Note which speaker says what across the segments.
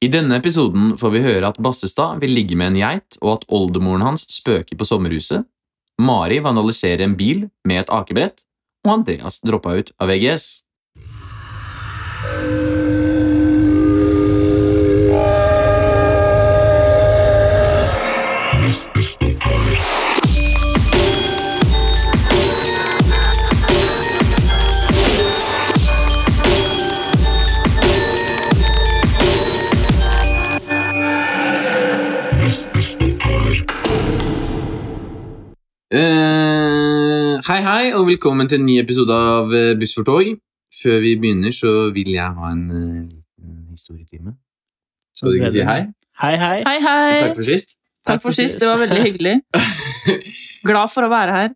Speaker 1: I denne episoden får vi høre at Bassestad vil ligge med en geit, og at oldemoren hans spøker på sommerhuset. Mari vandaliserer en bil med et akebrett, og Andreas droppa ut av VGS. Eh, hei, hei, og velkommen til en ny episode av eh, Buss for tog. Før vi begynner, så vil jeg ha en eh, liten historietime. Skal du ikke si hei?
Speaker 2: Hei, hei.
Speaker 3: Hei, hei.
Speaker 1: Takk for sist.
Speaker 3: Takk for sist. Det var veldig hyggelig. Glad for å være her.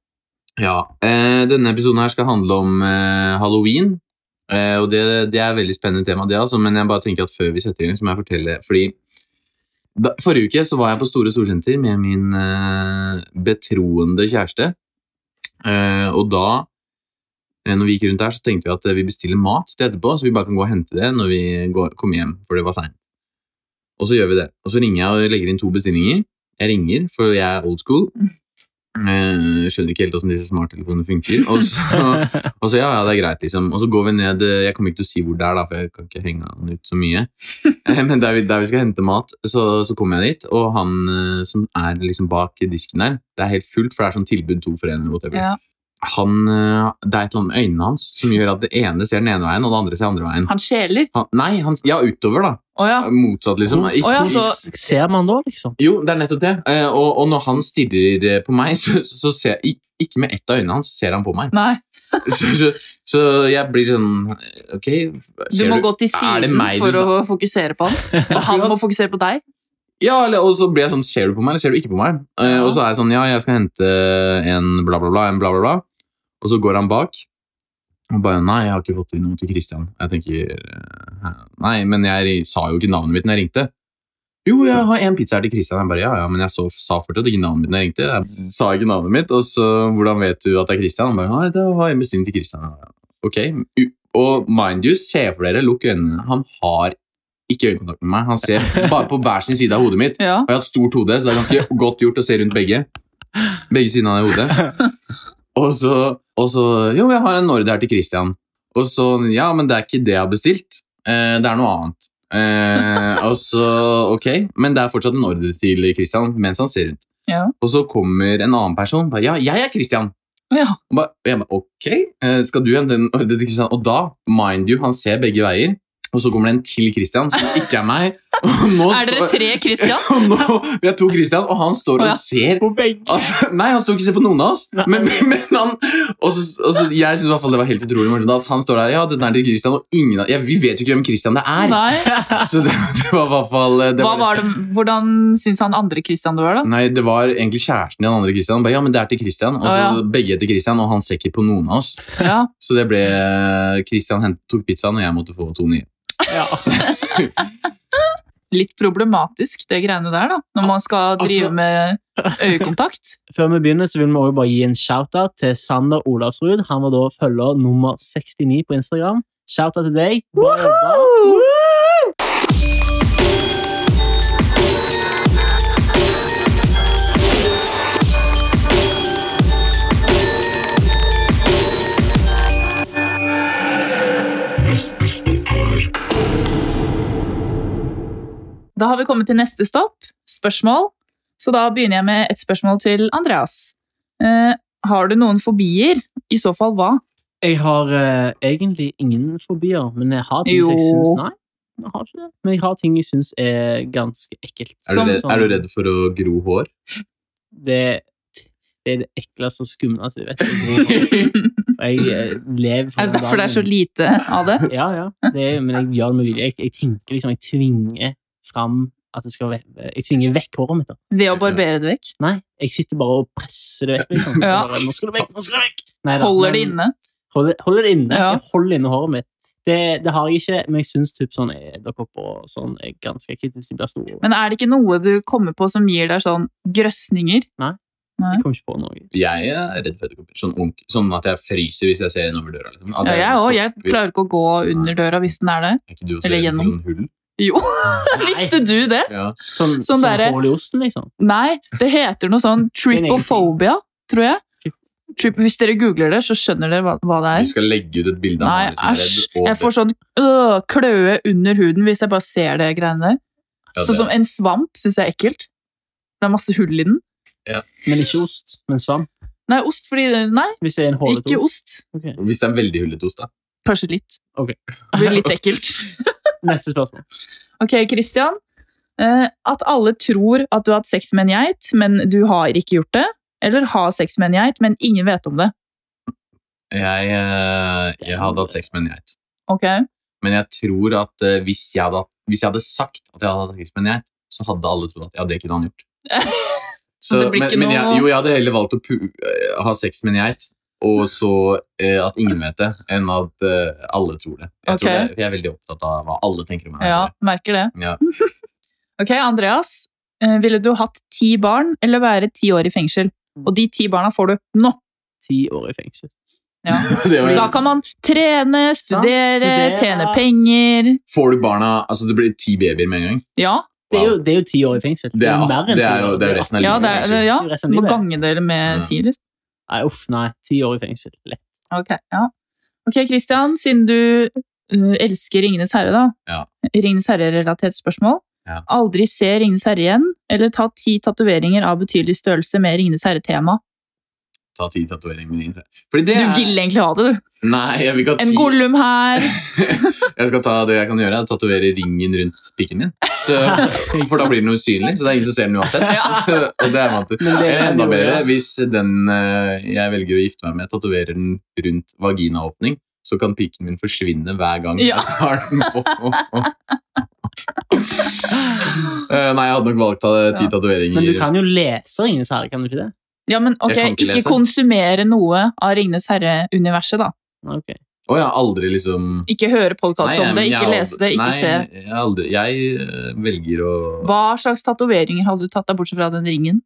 Speaker 1: Ja, eh, Denne episoden her skal handle om eh, halloween. Eh, og det, det er et veldig spennende tema, det altså, men jeg bare tenker at før vi setter i gang, så må jeg fortelle Fordi da, Forrige uke så var jeg på Store Storsenter med min eh, betroende kjæreste. Eh, og da, eh, når vi gikk rundt der, så tenkte vi at eh, vi bestiller mat til etterpå, så vi bare kan gå og hente det når vi går, kommer hjem, for det var seint. Og så gjør vi det. Og så ringer jeg og legger inn to bestillinger. Jeg ringer, for jeg er old school. Eh, skjønner ikke helt hvordan disse smarttelefonene funker. Og så og så ja, ja, det er greit, liksom. Og så går vi ned eh, Jeg kommer ikke til å si hvor det er, da, for jeg kan ikke henge han ut så mye. Eh, Men der vi, der vi skal hente mat, så, så kommer jeg dit, og han eh, som er liksom bak disken der Det er helt fullt, for det er sånn tilbud to for én eller whatever.
Speaker 3: Ja.
Speaker 1: Han, eh, det er et eller annet med øynene hans som gjør at det ene ser den ene veien, og det andre ser andre veien.
Speaker 3: Han skjeler.
Speaker 1: Han, nei, han, ja, utover, da.
Speaker 3: Å ja.
Speaker 1: Motsatt, liksom. Ikke-
Speaker 3: Å ja, så-
Speaker 2: Ser man da, liksom?
Speaker 1: jo, det er nettopp det. Eh, Og, og når han stirrer eh, på meg, så, så ser jeg ik- ikke med ett av øynene hans ser han på meg.
Speaker 3: Nei.
Speaker 1: Så, så, så jeg blir sånn Ok,
Speaker 3: Du
Speaker 1: ser
Speaker 3: må gå til
Speaker 1: er det
Speaker 3: siden
Speaker 1: meg du
Speaker 3: for å fokusere på han. Og han må fokusere på deg.
Speaker 1: Ja, eller, og så blir jeg sånn Ser du på meg, eller ser du ikke på meg? Eh, og så er jeg sånn Ja, jeg skal hente en bla, bla, bla, en bla, bla, bla. Og så går han bak. Og bare Nei, jeg har ikke fått inn noe til Christian. Jeg tenker eh, Nei, men jeg ri- sa jo ikke navnet mitt når jeg ringte. Jo, jeg har en pizza her til Christian. Jeg bare, ja, ja, Men jeg så, sa fortsatt ikke navnet mitt når jeg ringte. Jeg sa ikke navnet mitt, og så Hvordan vet du at det er Christian? Han bare Nei, det har jeg bestilt til Christian. Jeg bare, Ok. U- Og mind you, se for dere, lukk øynene. Han har ikke øyekontakt med meg. Han ser bare på hver sin side av hodet mitt.
Speaker 3: Ja.
Speaker 1: Og jeg har et stort hode, så det er ganske godt gjort å se rundt begge. Begge sidene av det hodet. Og så, og så Jo, jeg har en order her til Christian. Og så Ja, men det er ikke det jeg har bestilt. Eh, det er noe annet. Eh, og så Ok, men det er fortsatt en ordre til Christian mens han ser rundt.
Speaker 3: Ja.
Speaker 1: Og så kommer en annen person. Bare, ja, jeg er Christian.
Speaker 3: Ja.
Speaker 1: Og ba- og jeg bare, ok, eh, skal du hente en ordre til Christian? Og da, mind you, han ser begge veier. Og så kommer det en til Christian, som ikke er meg. Og nå
Speaker 3: Er dere
Speaker 1: står-
Speaker 3: tre, Christian?
Speaker 1: og nå, vi har to Christian, og han står
Speaker 3: Å, ja.
Speaker 1: og ser
Speaker 2: På begge.
Speaker 1: altså, Nei, han står ikke og ser på noen av oss.
Speaker 2: Nei.
Speaker 1: Men, men, men han og så, og så, Jeg syns det var helt utrolig morsomt at han står der Ja, den er til Christian, og ingen av ja, Vi vet jo ikke hvem Christian det er.
Speaker 3: Nei.
Speaker 1: Så det, det var i hvert fall eh, det
Speaker 3: Hva var det, hvordan syns han andre Christian du var, da?
Speaker 1: Nei, det var egentlig kjæresten til den andre Christian. Han Ba, ja, men det er til Christian. Og så
Speaker 3: Å, ja.
Speaker 1: begge heter Christian, og han ser ikke på noen av oss.
Speaker 3: Ja.
Speaker 1: Så det ble Christian hent, tok pizzaen, og jeg måtte få to nye.
Speaker 2: Ja.
Speaker 3: Litt problematisk, det greiene der, da. Når man skal drive
Speaker 1: Altså-
Speaker 3: med øyekontakt.
Speaker 2: Før vi begynner, så vil vi også bare gi en shout-out til Sander Olavsrud. Han var da følger nummer 69 på Instagram. Shout-out til deg. Bra jobba.
Speaker 3: Da har vi kommet til neste stopp, spørsmål. Så da begynner jeg med et spørsmål til Andreas. Eh, har du noen fobier? I så fall hva?
Speaker 2: Jeg har eh, egentlig ingen fobier, men jeg har ting som jeg
Speaker 3: Jo.
Speaker 2: syns Nei, jeg har ikke det. Men jeg har ting jeg syns er ganske ekkelt. sånn,
Speaker 1: Er du,
Speaker 3: Som- sånn.
Speaker 1: redd, er du redd for å gro hår?
Speaker 2: Det, det er det ekleste og skumleste jeg vet. Og jeg eh, lever for
Speaker 3: Er det
Speaker 2: den
Speaker 3: derfor det er så
Speaker 2: dagen.
Speaker 3: lite av det?
Speaker 2: Ja, ja. Det, er- men jeg gjør det med vilje. Jeg, jeg tenker liksom, jeg tvinger fram at det skal ve- Jeg tvinger vekk håret mitt. da.
Speaker 3: Ved å barbere det vekk?
Speaker 2: Nei, jeg sitter bare og presser det vekk. liksom.
Speaker 3: Ja.
Speaker 2: Bare, nå skal det vekk, nå skal det vekk! Neida, men-
Speaker 3: Holder det inne?
Speaker 2: Holder, holder det inne.
Speaker 3: Ja.
Speaker 2: Jeg holder inne håret mitt. Det, det har jeg ikke, men jeg syns typ sånn edderkopper og sånn er ganske ekkelt hvis de blir store.
Speaker 3: Men er det ikke noe du kommer på som gir deg sånn grøsninger?
Speaker 2: Jeg kom ikke på noe.
Speaker 1: Jeg er redd for edderkopper. Sånn, unk- sånn at jeg fryser hvis jeg ser inn over døra. Liksom. At
Speaker 3: Ja, jeg òg. Jeg
Speaker 1: stopper-
Speaker 3: klarer ikke å gå under døra hvis den er der.
Speaker 1: Er ikke du også redd
Speaker 3: Eller
Speaker 1: for
Speaker 3: gjennom.
Speaker 1: sånn hull?
Speaker 3: Jo, visste du det?
Speaker 1: Ja.
Speaker 2: Sånn,
Speaker 3: Sånn
Speaker 2: sånn
Speaker 3: derre-
Speaker 2: hull i osten, liksom.
Speaker 3: Nei, det heter noe sånn
Speaker 2: er en egen ting.
Speaker 3: tripophobia, tror jeg. Trip, hvis dere googler det, så skjønner dere hva, hva det
Speaker 1: Vi
Speaker 3: er.
Speaker 1: skal legge ut et bilde av
Speaker 3: Nei,
Speaker 1: Mari som er redd,
Speaker 3: æsj.
Speaker 1: og
Speaker 3: Jeg får
Speaker 1: det-
Speaker 3: sånn øh, kløe under huden hvis jeg bare ser det greiene der.
Speaker 1: ja, det-
Speaker 3: Sånn som en svamp syns jeg er ekkelt. Det er masse hull i den.
Speaker 2: Men ikke ost, men svamp.
Speaker 3: Nei, ost fordi Nei,
Speaker 2: Hvis det er en hålete
Speaker 3: ikke
Speaker 2: ost.
Speaker 3: ost.
Speaker 2: Ok.
Speaker 1: Hvis det er veldig hullete ost, da.
Speaker 3: Kanskje litt.
Speaker 2: Ok.
Speaker 3: Det blir litt ekkelt.
Speaker 2: Neste spørsmål.
Speaker 3: Ok, Christian. Eh, At alle tror at du har hatt sex med en geit, men du har ikke gjort det. Eller har sex med en geit, men ingen vet om det.
Speaker 1: Jeg, eh, jeg hadde hatt sex med en geit.
Speaker 3: Ok,
Speaker 1: Men jeg tror at eh, hvis, jeg hadde, hatt- hvis jeg hadde sagt at jeg hadde hatt sex med en geit, så hadde alle trodd at ja, det kunne han gjort.
Speaker 3: Så det blir
Speaker 1: men,
Speaker 3: ikke
Speaker 1: men jeg,
Speaker 3: noe-
Speaker 1: jo, jeg hadde heller valgt å pu eh, ha sex med en geit, og så eh, at ingen vet det, enn at eh, alle tror det. Jeg, tror
Speaker 3: Ok.
Speaker 1: det. jeg er veldig opptatt av hva alle tenker om meg.
Speaker 3: Ja, merker det.
Speaker 1: Ja.
Speaker 3: Ok, Andreas. eh, Ville du hatt ti barn eller være ti år i fengsel? Og de ti barna får du nå.
Speaker 2: Ti år i fengsel.
Speaker 1: Det var-
Speaker 3: Da kan man trene, studere,
Speaker 2: studere.
Speaker 3: tjene penger.
Speaker 1: Får du barna Altså, det blir ti babyer med en gang.
Speaker 3: Ja,
Speaker 2: Det er jo,
Speaker 1: Wow.
Speaker 2: det er jo ti år i fengsel.
Speaker 1: Det er,
Speaker 2: mer enn
Speaker 1: det er
Speaker 2: ti
Speaker 1: jo
Speaker 2: år.
Speaker 1: det er jo resten av
Speaker 3: ja,
Speaker 1: livet.
Speaker 3: det er,
Speaker 1: kanskje.
Speaker 3: det, ja.
Speaker 2: Det er resten av
Speaker 3: må
Speaker 2: livet.
Speaker 3: gange dere
Speaker 1: Ja.
Speaker 3: med ti, liksom.
Speaker 2: Nei, uff, nei. Ti år i fengsel. Lett.
Speaker 3: Ok, ja. Ok, Christian, siden du uh, elsker Ringenes herre, da.
Speaker 1: Ja.
Speaker 3: Ringenes herre-relatert spørsmål.
Speaker 1: Ja.
Speaker 3: Aldri se Ringenes herre igjen, eller ta ti tatoveringer av betydelig størrelse med Ringenes herre-tema.
Speaker 1: Ta ti tatoveringer med din. Fordi det
Speaker 3: Du
Speaker 1: er-
Speaker 3: vil egentlig ha det, du.
Speaker 1: Nei, jeg vil ikke ha
Speaker 3: En
Speaker 1: ti.
Speaker 3: Gollum her.
Speaker 1: Jeg skal ta det jeg kan gjøre, er å tatovere ringen rundt pikken min. Så, for da blir den usynlig, så det er ingen som ser den uansett. Så, og det er vant til.
Speaker 2: Men det
Speaker 1: Eller
Speaker 2: kan
Speaker 1: enda
Speaker 2: du jo
Speaker 1: bedre
Speaker 2: gjøre.
Speaker 1: hvis den eh, jeg velger å gifte meg med, tatoverer den rundt vaginaåpning. Så kan pikken min forsvinne hver gang
Speaker 3: Ja.
Speaker 1: jeg tar den på. Eh, Nei, jeg hadde nok valgt eh, ti
Speaker 3: Ja.
Speaker 1: tatoveringer.
Speaker 2: Men du kan jo lese Ringenes herre, kan du ikke det?
Speaker 3: Ja, men ok,
Speaker 1: kan ikke
Speaker 3: ikke
Speaker 1: lese.
Speaker 3: konsumere noe av Ringenes herre-universet, da.
Speaker 2: Nei, ok.
Speaker 1: Å, jeg har aldri liksom
Speaker 3: Ikke høre podkast
Speaker 1: Nei, jeg-
Speaker 3: om det,
Speaker 1: jeg
Speaker 3: ikke
Speaker 1: har
Speaker 3: lese det,
Speaker 1: aldri-
Speaker 3: ikke
Speaker 1: nei,
Speaker 3: se.
Speaker 1: Jeg, har aldri, jeg eh, velger å
Speaker 3: Hva slags tatoveringer hadde du tatt deg bortsett fra den ringen?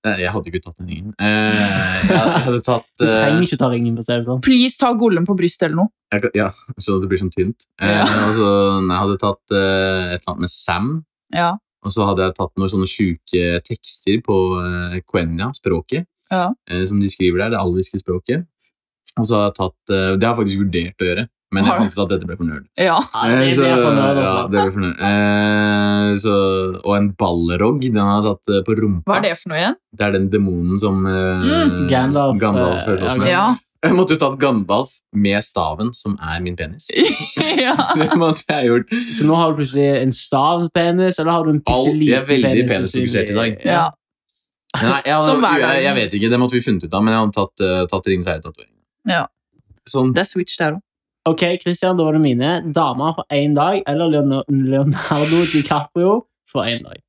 Speaker 1: Eh, Jeg hadde ikke tatt den ringen. Eh, jeg hadde tatt
Speaker 2: Du
Speaker 1: eh,
Speaker 2: trenger ikke ta ringen på stedet. Sånn.
Speaker 3: Please ta Gollum på brystet eller noe.
Speaker 1: jeg, kan- Ja, sånn at det blir sånn tynt. Eh,
Speaker 3: Ja.
Speaker 1: altså, nei, jeg hadde tatt eh, et eller annet med Sam.
Speaker 3: Ja.
Speaker 1: Og så hadde jeg tatt noen sånne sjuke tekster på eh, Quenya, språket,
Speaker 3: Ja.
Speaker 1: eh, som de skriver der, det alviske språket. Og så hadde jeg tatt eh, Det har jeg faktisk vurdert å gjøre, men
Speaker 3: Har
Speaker 1: jeg
Speaker 3: du?
Speaker 1: fant ut at dette ble for nerd.
Speaker 3: Ja.
Speaker 2: Ja, det
Speaker 1: Eh,
Speaker 2: er
Speaker 1: så-
Speaker 2: det jeg får nå,
Speaker 1: ja,
Speaker 2: altså.
Speaker 1: det ble for nerd. Eh, så, og en balrog. Den har jeg tatt eh, på rumpa.
Speaker 3: Hva er det for noe igjen?
Speaker 1: Det er den demonen som eh,
Speaker 2: Gandalf,
Speaker 1: Gandalf
Speaker 2: eh,
Speaker 1: føler oss
Speaker 2: ja,
Speaker 1: med.
Speaker 3: Mm, Ja.
Speaker 1: Jeg måtte jo tatt Gandalf med staven, som er min penis.
Speaker 3: ja.
Speaker 1: Det måtte jeg gjort.
Speaker 2: Så nå har du plutselig en stavpenis, eller har du en
Speaker 1: Alt-
Speaker 2: bitte
Speaker 1: jeg er
Speaker 2: liten
Speaker 1: veldig
Speaker 2: penis?
Speaker 1: penisfokusert i dag.
Speaker 3: ja.
Speaker 1: Nei, jeg, hadde,
Speaker 3: Som hver dag.
Speaker 1: jeg, jeg vet ikke, det måtte vi funnet ut av, men jeg hadde tatt, uh, tatt Ringens herre-tatovering.
Speaker 3: Ja.
Speaker 1: Sånn.
Speaker 3: Det er Switch der òg.
Speaker 2: Ok, Christian, da var det mine. Damer for én dag, eller Leon- Leonardo DiCaprio for én dag.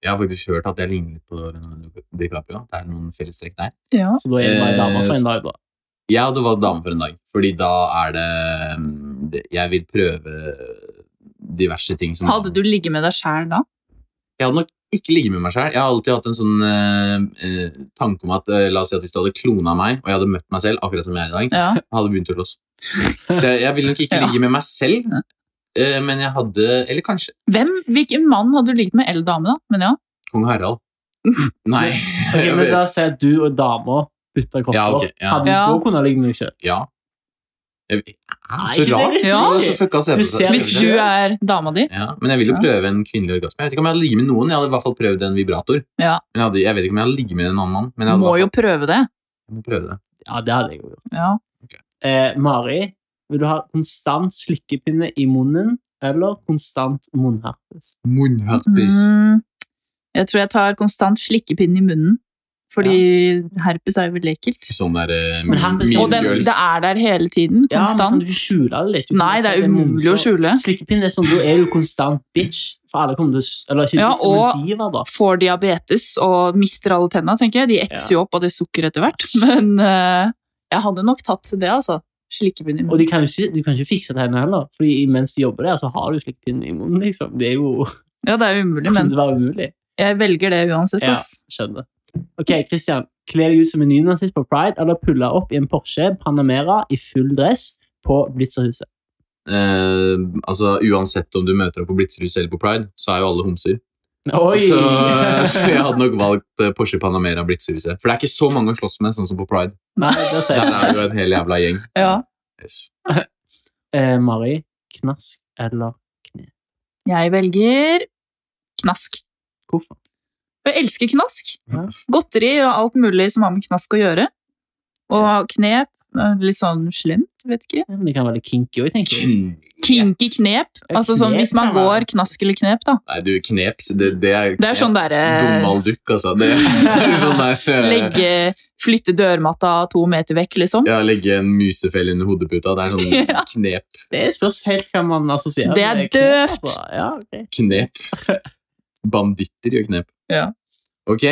Speaker 1: Jeg har faktisk hørt at jeg ligner litt på Leonardo DiCaprio. Det er noen fellestrekk der.
Speaker 3: Ja.
Speaker 2: Så da er det bare
Speaker 1: Eh,
Speaker 2: damer for én dag, da.
Speaker 1: Jeg hadde valgt dame for en dag, fordi da er det mm, det- Jeg vil prøve diverse ting som
Speaker 3: Hadde du ligget med deg sjæl da?
Speaker 1: Jeg hadde nok ikke ligget med meg sjøl. Jeg har alltid hatt en sånn eh, eh, tanke om at eh, la oss si at hvis du hadde klona meg, og jeg hadde møtt meg selv akkurat som jeg er i dag,
Speaker 3: Ja.
Speaker 1: Jeg hadde begynt å slåss. Så jeg, jeg ville nok ikke
Speaker 3: Ja.
Speaker 1: ligge med meg selv, eh, men jeg hadde Eller kanskje
Speaker 3: Hvem? Hvilken mann hadde du ligget med? Eller dame, da? Men ja.
Speaker 1: kong Harald. Nei.
Speaker 2: Ok, men La oss si at du og dama bytter kropper.
Speaker 1: Ja, ok, ja.
Speaker 2: Hadde du
Speaker 3: Ja.
Speaker 2: da kunnet ligge med deg sjøl?
Speaker 1: Ja. Jeg,
Speaker 2: Nei,
Speaker 1: så
Speaker 2: det er
Speaker 1: rart.
Speaker 2: litt
Speaker 1: Ja.
Speaker 2: rart.
Speaker 1: Så fucka
Speaker 2: Du
Speaker 1: scenen
Speaker 2: ser-
Speaker 1: seg.
Speaker 3: Hvis du er dama di?
Speaker 1: ja, Men jeg vil jo prøve en kvinnelig orgasme. Jeg vet ikke om jeg hadde ligget med noen. Jeg hadde i hvert fall prøvd en vibrator.
Speaker 3: Ja.
Speaker 1: Men jeg, hadde, jeg vet ikke om jeg hadde ligget med en annen mann. Men jeg hadde
Speaker 3: Må
Speaker 1: i
Speaker 3: jo
Speaker 1: hvert
Speaker 3: prøve det.
Speaker 1: fall- jeg må prøve det.
Speaker 2: Ja, det hadde jeg jo gjort.
Speaker 3: Ja.
Speaker 2: Eh, Mari, vil du ha konstant slikkepinne i munnen, eller konstant munnherpes?
Speaker 1: Munnherpes.
Speaker 3: Mm, jeg tror jeg tar konstant slikkepinn i munnen. Fordi herpes er jo veldig ekkelt.
Speaker 1: Sånn der eh,
Speaker 2: Men herpes-
Speaker 1: mean
Speaker 3: Og den,
Speaker 1: girls.
Speaker 3: det er der hele tiden.
Speaker 2: Ja, men kan
Speaker 3: Konstant.
Speaker 2: du ikke skjule det litt? Du kan
Speaker 3: Nei,
Speaker 2: bare
Speaker 3: det
Speaker 2: si
Speaker 3: er umulig å
Speaker 2: munnsår.
Speaker 3: skjule.
Speaker 2: Slikkepinne er sånn, da er du konstant bitch. For alle kommer til å s- Eller ikke
Speaker 3: Ja,
Speaker 2: bitch, som
Speaker 3: og-
Speaker 2: en diva, da.
Speaker 3: Får diabetes og mister alle tenna, tenker jeg. De etser jo opp av det sukkeret etter hvert. Men eh, jeg hadde nok tatt det, altså. Slikkepinn i
Speaker 2: Og
Speaker 3: munnen.
Speaker 2: de kan jo ikke, de kan ikke fikse tennene heller, Fordi mens de jobber der, så har du slikkepinne i munnen. liksom. Det er jo,
Speaker 3: Ja, det er jo umulig,
Speaker 2: kunne
Speaker 3: men
Speaker 2: det være umulig.
Speaker 3: jeg velger det uansett.
Speaker 2: Ja.
Speaker 3: Ass.
Speaker 2: Skjønner. Ok, Christian. Kle deg ut som en nynazist på Pride, eller pulle opp i en Porsche Panamera i full dress på Blitzerhuset.
Speaker 1: eh, altså Uansett om du møter opp på Blitzerhus eller på Pride, så er jo alle homser.
Speaker 2: Oi!
Speaker 1: Så, så jeg hadde nok valgt eh, Porsche Panamera Blitzerhuset. For det er ikke så mange å slåss med, sånn som på Pride.
Speaker 2: Nei, det ser
Speaker 1: Der
Speaker 2: jeg.
Speaker 1: er det jo en hel jævla gjeng.
Speaker 3: Ja.
Speaker 1: Yes.
Speaker 2: Eh, Mari, knask eller
Speaker 3: Jeg velger knask.
Speaker 2: hvorfor?
Speaker 3: Jeg elsker knask.
Speaker 2: Ja.
Speaker 3: Godteri og alt mulig som har med knask å gjøre. Og knep. eh, Litt sånn slemt, vet ikke.
Speaker 2: Ja, men Det kan være litt kinky òg, tenker jeg.
Speaker 1: Knep.
Speaker 3: Kinky knep. Altså sånn
Speaker 2: knep,
Speaker 3: hvis man
Speaker 2: ja.
Speaker 3: går knask eller knep, da.
Speaker 1: Nei, du, knep Det, det er jo
Speaker 3: Det er sånn derre
Speaker 1: Dummaldukk, altså. Det er sånn der eh,
Speaker 3: Legge Flytte dørmatta to meter vekk, liksom.
Speaker 1: Ja, legge en musefelle under hodeputa. Det er sånn
Speaker 3: Ja.
Speaker 1: knep.
Speaker 2: Det spørs helt hva man assosierer.
Speaker 3: Det er
Speaker 2: med knep,
Speaker 3: døvt.
Speaker 2: altså. Ja, ok.
Speaker 1: Knep. Banditter gjør knep.
Speaker 3: Ja.
Speaker 1: Ok.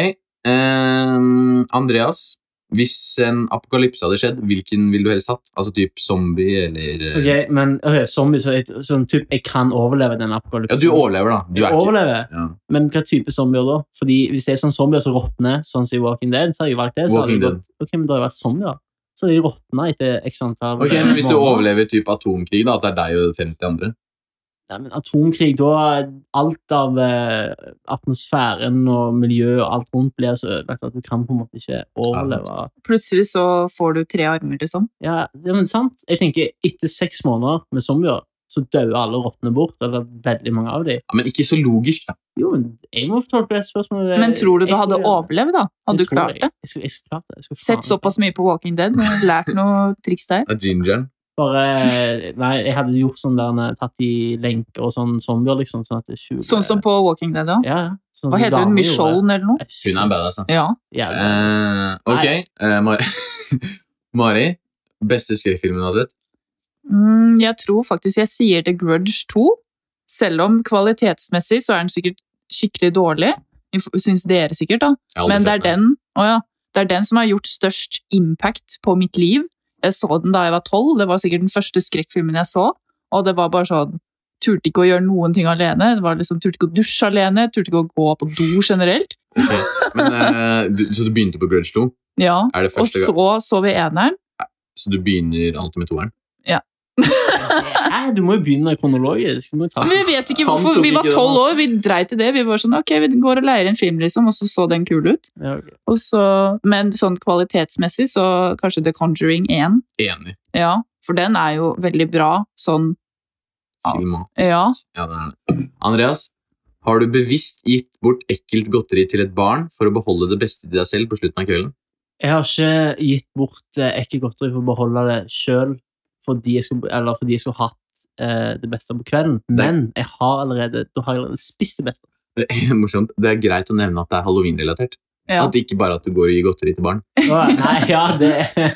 Speaker 1: ehm, Andreas, hvis en apokalypse hadde skjedd, hvilken ville du helst hatt? Altså typ zombie eller eh,
Speaker 2: Ok, men ok, zombie, så jeg, sånn typ, jeg kan overleve den
Speaker 1: Ja,
Speaker 2: apokalypsen.
Speaker 1: du overlever, da. Du er
Speaker 2: Jeg
Speaker 1: ikke
Speaker 2: overlever,
Speaker 1: ja.
Speaker 2: men hva type zombier da? Fordi hvis det er sånn zombier som råtner, sånn som i Walking Dead, så har jeg valgt det. Så hadde
Speaker 1: Walking
Speaker 2: jeg gått, ok, men da har jeg vært zombier. Så har de råtna etter x antall
Speaker 1: Ok, men Hvis du
Speaker 2: måneder.
Speaker 1: overlever typ atomkrig, da, at det er deg og 50 andre
Speaker 2: Nei, men atomkrig, da er alt av eh, atmosfæren og miljøet og alt rundt blir så ødelagt at du kan på en måte ikke overleve.
Speaker 3: Plutselig så får du tre armer, liksom.
Speaker 2: Ja, ja men sant? Jeg tenker etter seks måneder med zombier, så dør alle og råtner bort, eller veldig mange av dem.
Speaker 1: ja, Men ikke så logisk, da.
Speaker 2: Jo, men jeg må tolke det spørsmålet. eh,
Speaker 3: Men tror du du
Speaker 2: Jeg
Speaker 3: hadde
Speaker 2: jeg-
Speaker 3: overlevd, da?
Speaker 2: jeg
Speaker 3: Hadde du
Speaker 2: tror
Speaker 3: klart det?
Speaker 2: Jeg, jeg, skulle, jeg skulle klart det. Jeg skulle faen
Speaker 3: Sett såpass mye på Walking Dead og lært noe triks der?
Speaker 1: Av gingeren.
Speaker 2: Bare, eh, nei, jeg hadde gjort sånn der, når jeg tatt i lenker og sånn zombier, liksom, sånn at det skjuler.
Speaker 3: Sånn som på Walking Dead òg?
Speaker 2: Ja, ja. Sånn
Speaker 3: Hva
Speaker 2: som
Speaker 3: heter hun?
Speaker 2: damer gjorde.
Speaker 3: Michonne eller noe?
Speaker 2: Jeg husker
Speaker 1: Hun er
Speaker 2: ikke.
Speaker 1: badass, da.
Speaker 3: Ja.
Speaker 2: Jævlig badass.
Speaker 1: Eh, ok, eh, Mari. Mari, beste skrekkfilmen du har sett?
Speaker 3: Mm, jeg tror faktisk jeg sier The Grudge 2. Selv om kvalitetsmessig så er den sikkert skikkelig dårlig. Syns dere sikkert, da.
Speaker 1: Jeg har aldri
Speaker 3: Men det
Speaker 1: sett
Speaker 3: er den, å ja, det er den som har gjort størst impact på mitt liv. Jeg så den da jeg var tolv. Det var sikkert den første skrekkfilmen jeg så. Og det var bare sånn Turte ikke å gjøre noen ting alene. Det var liksom, Turte ikke å dusje alene. Turte ikke å gå på do generelt.
Speaker 1: Ok, Men, eh, du, så du begynte på Grudge 2?
Speaker 3: Ja,
Speaker 1: Er det
Speaker 3: Og
Speaker 1: første gang?
Speaker 3: så så vi eneren.
Speaker 1: Så du begynner alltid med toeren?
Speaker 2: Nei, du må jo begynne kronologisk. Du må jo ta.
Speaker 3: Men vi vet ikke
Speaker 1: Han
Speaker 3: hvorfor.
Speaker 1: tok
Speaker 3: Vi var
Speaker 1: ikke den,
Speaker 3: tolv
Speaker 1: altså.
Speaker 3: år, vi dreit i det. Vi var sånn, ok, vi går og leier en film, liksom. Og så så den kul ut.
Speaker 2: Ja, ok.
Speaker 3: Og så, men sånn kvalitetsmessig så kanskje The Conjuring 1.
Speaker 1: Enig.
Speaker 3: Ja, for den er jo veldig bra sånn Ja.
Speaker 1: Filmatisk.
Speaker 3: Ja.
Speaker 1: Ja, det er det. Andreas, har du bevisst gitt bort ekkelt godteri til et barn for å beholde det beste til deg selv på slutten av kvelden?
Speaker 2: Jeg har ikke gitt bort eh, ekkel godteri for å beholde det sjøl, fordi jeg skulle, eller fordi jeg skulle hatt eh, det beste på kvelden. Men jeg har allerede, da har jeg allerede spist det beste.
Speaker 1: Det er morsomt. Det er greit å nevne at det er halloween-relatert.
Speaker 3: ja.
Speaker 1: At det ikke bare er at du går og gir godteri til barn.
Speaker 2: Å, nei, ja, det,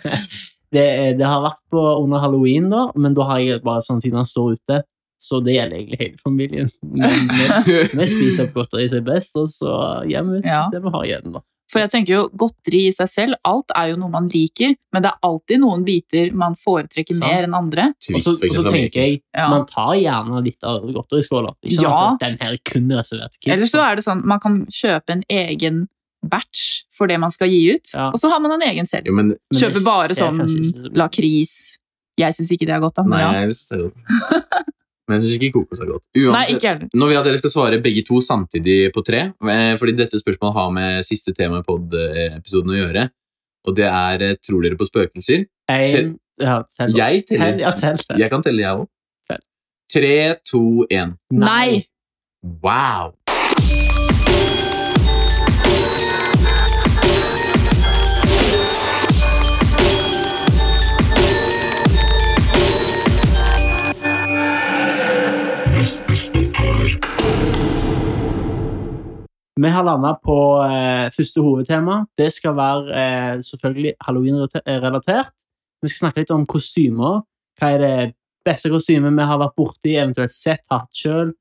Speaker 2: det, det har vært på under halloween, da, men da har jeg bare sånn siden han står ute. Så det gjelder egentlig hele familien. Men vi- Vi spiser opp godteri som er best, og så hjem ut
Speaker 3: Ja.
Speaker 2: det vi har igjen. da.
Speaker 3: For jeg tenker jo, godteri i seg selv, alt er jo noe man liker, men det er alltid noen biter man foretrekker
Speaker 2: Sant.
Speaker 3: mer enn andre.
Speaker 2: Og
Speaker 1: Twist,
Speaker 2: så,
Speaker 1: for
Speaker 2: og så
Speaker 1: eksempel.
Speaker 2: tenker jeg,
Speaker 3: Ja.
Speaker 2: man tar gjerne litt av godteriskåla. Ikke sånn
Speaker 3: Ja.
Speaker 2: at den her er kun reservert til kids.
Speaker 3: Eller så er det sånn, man kan kjøpe en egen batch for det man skal gi ut,
Speaker 2: Ja.
Speaker 3: og så har man en egen selv.
Speaker 1: Jo, men
Speaker 2: Men det
Speaker 3: Kjøper bare
Speaker 2: ser
Speaker 3: sånn
Speaker 2: kanskje ikke så-
Speaker 3: lakris. Jeg syns ikke det er godt, da.
Speaker 1: Nei,
Speaker 3: Men ja.
Speaker 1: jeg ser jo Men jeg syns ikke kokos er godt.
Speaker 3: Nei,
Speaker 1: Uansett,
Speaker 3: ikke heller.
Speaker 1: Nå vil jeg at dere skal svare begge to samtidig på tre, eh, fordi dette spørsmålet har med siste tema i pod-episoden å gjøre. Og det er eh, Tror dere på spøkelser?
Speaker 2: En, ja, tell, da.
Speaker 1: Jeg
Speaker 2: Tell,
Speaker 1: teller.
Speaker 2: ja, tell det.
Speaker 1: Jeg kan telle, jeg òg.
Speaker 2: Tell.
Speaker 1: Tre, to, én.
Speaker 3: Nei!
Speaker 1: Wow!
Speaker 2: Vi har landa på eh, første hovedtema. Det skal være eh, selvfølgelig halloween-relatert. Vi skal snakke litt om kostymer. Hva er det beste kostymet vi har vært borti, eventuelt sett, hatt sjøl?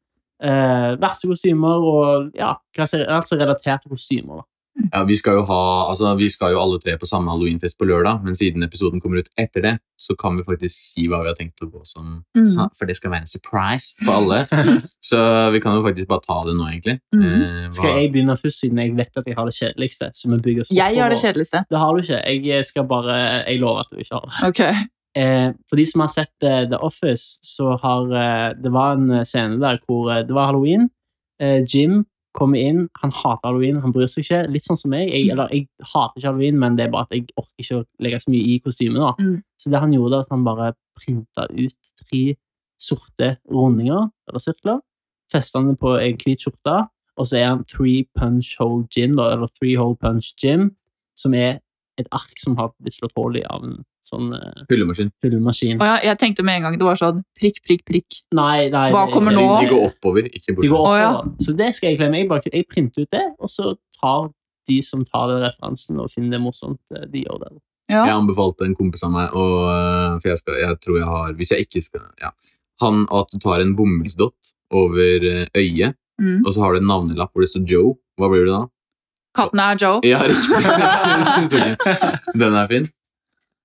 Speaker 2: Eh, verste kostymer, og ja, hva som alt som er relatert til kostymer. da.
Speaker 1: Ja, vi, skal jo ha, altså, vi skal jo alle tre på samme halloweenfest på lørdag, men siden episoden kommer ut etter det, så kan vi faktisk si hva vi har tenkt å gå som
Speaker 3: Mm.
Speaker 1: sa- For det skal være en surprise for alle.
Speaker 2: Mm.
Speaker 1: Så vi kan jo faktisk bare ta det nå, egentlig.
Speaker 3: Mhm.
Speaker 1: Eh, hva-
Speaker 2: Skal jeg begynne først, siden jeg vet at jeg har det kjedeligste? Så vi bygger oss
Speaker 3: Jeg
Speaker 2: oppover.
Speaker 3: er det kjedeligste.
Speaker 2: Det har du ikke. Jeg skal bare Jeg lover at du ikke har det.
Speaker 3: Ok.
Speaker 2: Eh, for de som har sett eh, The Office, så har eh, Det var en scene der hvor eh, det var halloween. Eh, Jim kommer inn, han hater halloween, han bryr seg ikke. Litt sånn som meg. Jeg, eller, jeg hater ikke halloween, men det er bare at jeg orker ikke å legge så mye i kostymet. da.
Speaker 3: Mm.
Speaker 2: Så det han gjorde, var at han bare printa ut tre sorte rundinger, eller sirkler. Festa den på en hvit skjorte, og så er han Three Punch Hole Gym, da, eller Three Hole Punch Gym, som er et ark som har blitt slått hull i av en sånn eh,
Speaker 1: Hullemaskin.
Speaker 2: hullemaskin.
Speaker 3: Og jeg, jeg tenkte med en gang det var sånn prikk, prikk, prikk.
Speaker 2: Nei, nei.
Speaker 3: Hva
Speaker 2: det er
Speaker 3: kommer
Speaker 1: De,
Speaker 2: ikke-
Speaker 3: nå?
Speaker 1: de går oppover, ikke
Speaker 2: De går
Speaker 1: bortover.
Speaker 2: opp,
Speaker 3: Å, ja.
Speaker 2: da. Så det skal jeg glemme. Jeg, bare, jeg printer ut det, og så tar de som tar den referansen og finner det morsomt, eh, de gjør det.
Speaker 3: Ja.
Speaker 1: Jeg anbefalte en kompis av meg, og, øh, for jeg, skal, jeg tror jeg har Hvis jeg ikke skal ja. Han at du tar en bomullsdott over øh, øyet,
Speaker 3: Mm.
Speaker 1: og så har du en navnelapp hvor det står Joe. Hva blir du da?
Speaker 3: Katten er Joe.
Speaker 1: Ja, riktig. Den er fin.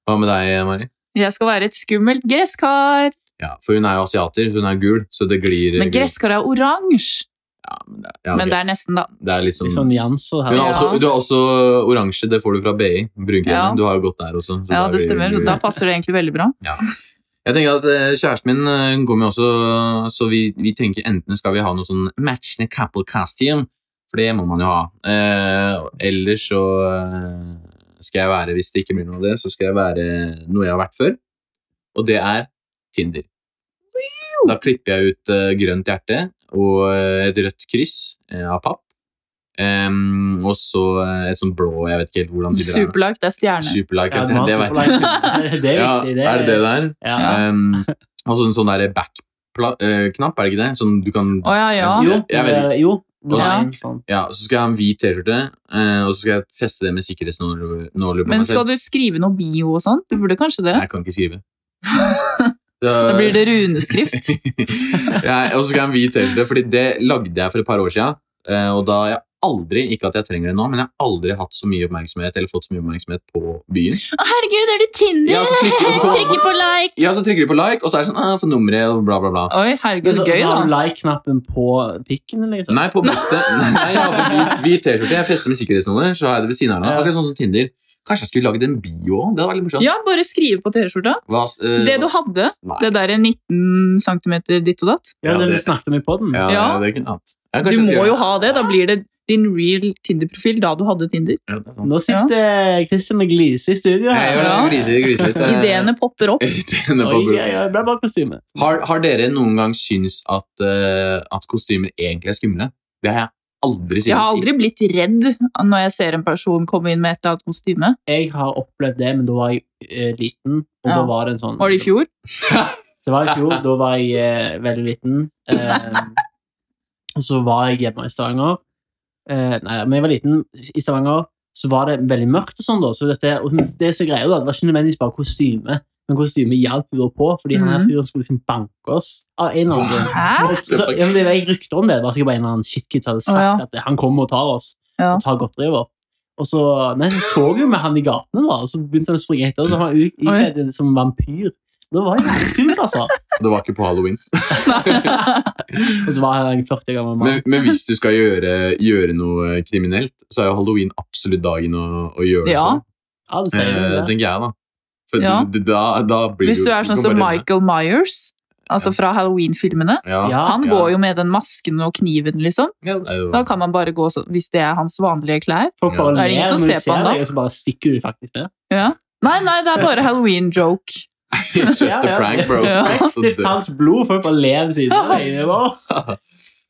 Speaker 1: Hva med deg, Mari?
Speaker 3: Jeg skal være et skummelt gresskar.
Speaker 1: Ja, for hun er jo asiater, så hun er gul, så det glir
Speaker 3: Men gresskar er oransje.
Speaker 1: Ja, men det, ja, ok.
Speaker 3: Men det er nesten, da.
Speaker 1: det er litt sånn
Speaker 2: Litt sånn nyanser her.
Speaker 1: Hun
Speaker 3: Ja,
Speaker 1: har også, altså, Du har også oransje, det får du fra BI. Brunkrene.
Speaker 3: Ja.
Speaker 1: Du har jo gått der også. så
Speaker 3: Ja,
Speaker 1: da
Speaker 3: det
Speaker 1: blir
Speaker 3: stemmer.
Speaker 1: du-
Speaker 3: Da passer det egentlig veldig bra.
Speaker 1: Jeg tenker at eh, Kjæresten min eh, hun går med også, så vi, vi tenker enten skal vi ha noe sånn matchende couple costume, for det må man jo ha. Eh, ellers så eh, skal jeg være, hvis det ikke blir noe av det, så skal jeg være noe jeg har vært før, og det er Tinder. Da klipper jeg ut eh, grønt hjerte og eh, et rødt kryss eh, av papp, Em, og så eh, et sånt blå, jeg vet ikke helt hvordan typer det er.
Speaker 3: Superlag, det er stjerne.
Speaker 1: Superlike,
Speaker 2: Ja,
Speaker 1: jeg ser- det vet jeg.
Speaker 2: masterplan. det er
Speaker 1: Ja,
Speaker 2: viktig. Det
Speaker 1: er det det der?
Speaker 2: Ja.
Speaker 1: Um, og så en sånn der back-knapp, er det ikke det? Sånn du kan
Speaker 3: Å ja, ja.
Speaker 2: Jo,
Speaker 1: Jeg vet
Speaker 2: eh, jo. det
Speaker 3: Ja.
Speaker 2: var en sånn.
Speaker 1: Ja, så skal jeg ha en hvit T-skjorte, eh, og så skal jeg feste det med sikkerhetsnåler på
Speaker 3: Men
Speaker 1: meg
Speaker 3: skal
Speaker 1: selv.
Speaker 3: du skrive noe bio og sånn? Du burde kanskje det?
Speaker 1: Nei, øh. Jeg kan ikke skrive. Så,
Speaker 3: Da blir det runeskrift.
Speaker 1: ja, og så skal jeg ha en hvit T-skjorte, fordi det lagde jeg for et par år siden. eh, og da har jeg aldri, ikke at jeg trenger det nå, men jeg har aldri hatt så mye oppmerksomhet eller fått så mye oppmerksomhet på byen.
Speaker 3: Å, herregud, er det Tinder?
Speaker 1: Ja, så trykker- og så kommer-
Speaker 3: Trykker på like!
Speaker 1: Ja, så trykker du på like, og så er det sånn ah, for nummeret og bla, bla, bla.
Speaker 3: Oi,
Speaker 2: Men
Speaker 3: herregud,
Speaker 2: så,
Speaker 3: gøy,
Speaker 2: så har du
Speaker 3: da.
Speaker 2: like-knappen på pikken, liksom.
Speaker 1: Nei, på brystet. Nei, jeg har på hvit- hvit T-skjorte. Jeg fester med sikkerhetsnummer, så har jeg det ved siden av. meg.
Speaker 2: Ja.
Speaker 1: Akkurat sånn som Tinder. Kanskje jeg skulle lagd en bio òg? Det hadde vært litt morsomt.
Speaker 3: Ja, bare skrive på T-skjorta.
Speaker 1: Hva, eh,
Speaker 3: Det du hadde,
Speaker 1: Nei.
Speaker 3: det der 19 cm ditt og datt.
Speaker 2: Ja,
Speaker 1: Ja,
Speaker 2: det vi
Speaker 1: det-
Speaker 2: snakket om i podden.
Speaker 1: ja,
Speaker 3: Ja.
Speaker 1: det kunne jeg hatt. Ja, kanskje
Speaker 3: Du
Speaker 1: jeg skal
Speaker 3: må
Speaker 1: gjøre
Speaker 3: jo ha det. Da blir det din real Tinder-profil da du hadde Tinder.
Speaker 1: Ja, det er sant.
Speaker 2: Nå sitter Kristin og gliser i studio. her.
Speaker 1: Jeg gjør det. Gliser, gliser litt. eh,
Speaker 3: Ideene popper opp.
Speaker 1: Ideene på
Speaker 2: Oi,
Speaker 1: bordet.
Speaker 2: ja, ja, det ble bare kostyme.
Speaker 1: Har, har dere noen gang syns at, eh, at kostymer egentlig er skumle? Det har jeg aldri syntes.
Speaker 3: Jeg har aldri blitt redd når jeg ser en person komme inn med et eller annet kostyme.
Speaker 2: Jeg har opplevd det, men da var jeg eh, liten. Og
Speaker 3: Ja.
Speaker 2: da var det en sånn
Speaker 3: Var det i fjor?
Speaker 2: Det var i fjor. Da var jeg eh, veldig liten. Eh, og så var jeg hjemme i Stavanger. Eh, nei, men jeg var liten i Stavanger, så var det veldig mørkt og sånn, da. Så dette, og det som er greia, da, det var ikke nødvendigvis bare kostyme, men kostyme hjalp jo da på, fordi han her
Speaker 3: Mhm.
Speaker 2: fyren skulle liksom banke oss av en eller annen grunn.
Speaker 3: Hæ?
Speaker 2: Ah! Så, ja, men det var ikke rykter om det. Det var sikkert bare en eller annen shitkid som hadde sagt
Speaker 3: Å, ja.
Speaker 2: at han kommer og tar oss.
Speaker 3: Ja.
Speaker 2: Og tar godteriet vårt. Og så, nei, så så vi jo med han i gatene, da, og så begynte han å springe etter oss. og Han var ut-
Speaker 3: Oi.
Speaker 2: ikledd en som vampyr. Det var jo skummelt, altså.
Speaker 1: Det var ikke på halloween.
Speaker 2: Og så var han en 40 år gammel mann.
Speaker 1: Men, men hvis du skal gjøre, gjøre noe kriminelt, så er jo halloween absolutt dagen å, å gjøre det
Speaker 3: Ja.
Speaker 1: på.
Speaker 2: Ja, du sier jo
Speaker 1: Eh,
Speaker 2: det.
Speaker 1: tenker jeg, da. For
Speaker 3: Ja.
Speaker 1: d- d- da, da blir
Speaker 3: Hvis du er
Speaker 1: kan
Speaker 3: sånn som
Speaker 1: bare-
Speaker 3: Michael Myers, altså fra Halloween-filmene.
Speaker 1: ja.
Speaker 2: Ja,
Speaker 3: Han
Speaker 1: ja.
Speaker 3: går jo med den masken og kniven, liksom.
Speaker 1: Ja, det er jo-
Speaker 3: Da kan man bare gå sånn, hvis det er hans vanlige klær.
Speaker 2: folk bare
Speaker 1: Ja.
Speaker 2: ler
Speaker 3: Er det ingen
Speaker 2: når
Speaker 3: som
Speaker 2: de
Speaker 3: ser på
Speaker 2: ser
Speaker 3: han da?
Speaker 2: deg, og så bare stikker du faktisk ned.
Speaker 3: Nei, nei, det er bare halloween-joke.
Speaker 1: It's just
Speaker 2: Ja,
Speaker 1: a
Speaker 2: ja,
Speaker 1: prank,
Speaker 2: det-
Speaker 1: bro.
Speaker 3: Ja.
Speaker 1: Så
Speaker 2: Det
Speaker 1: det-
Speaker 2: fantes blod, folk bare ler ved siden av deg. Det var-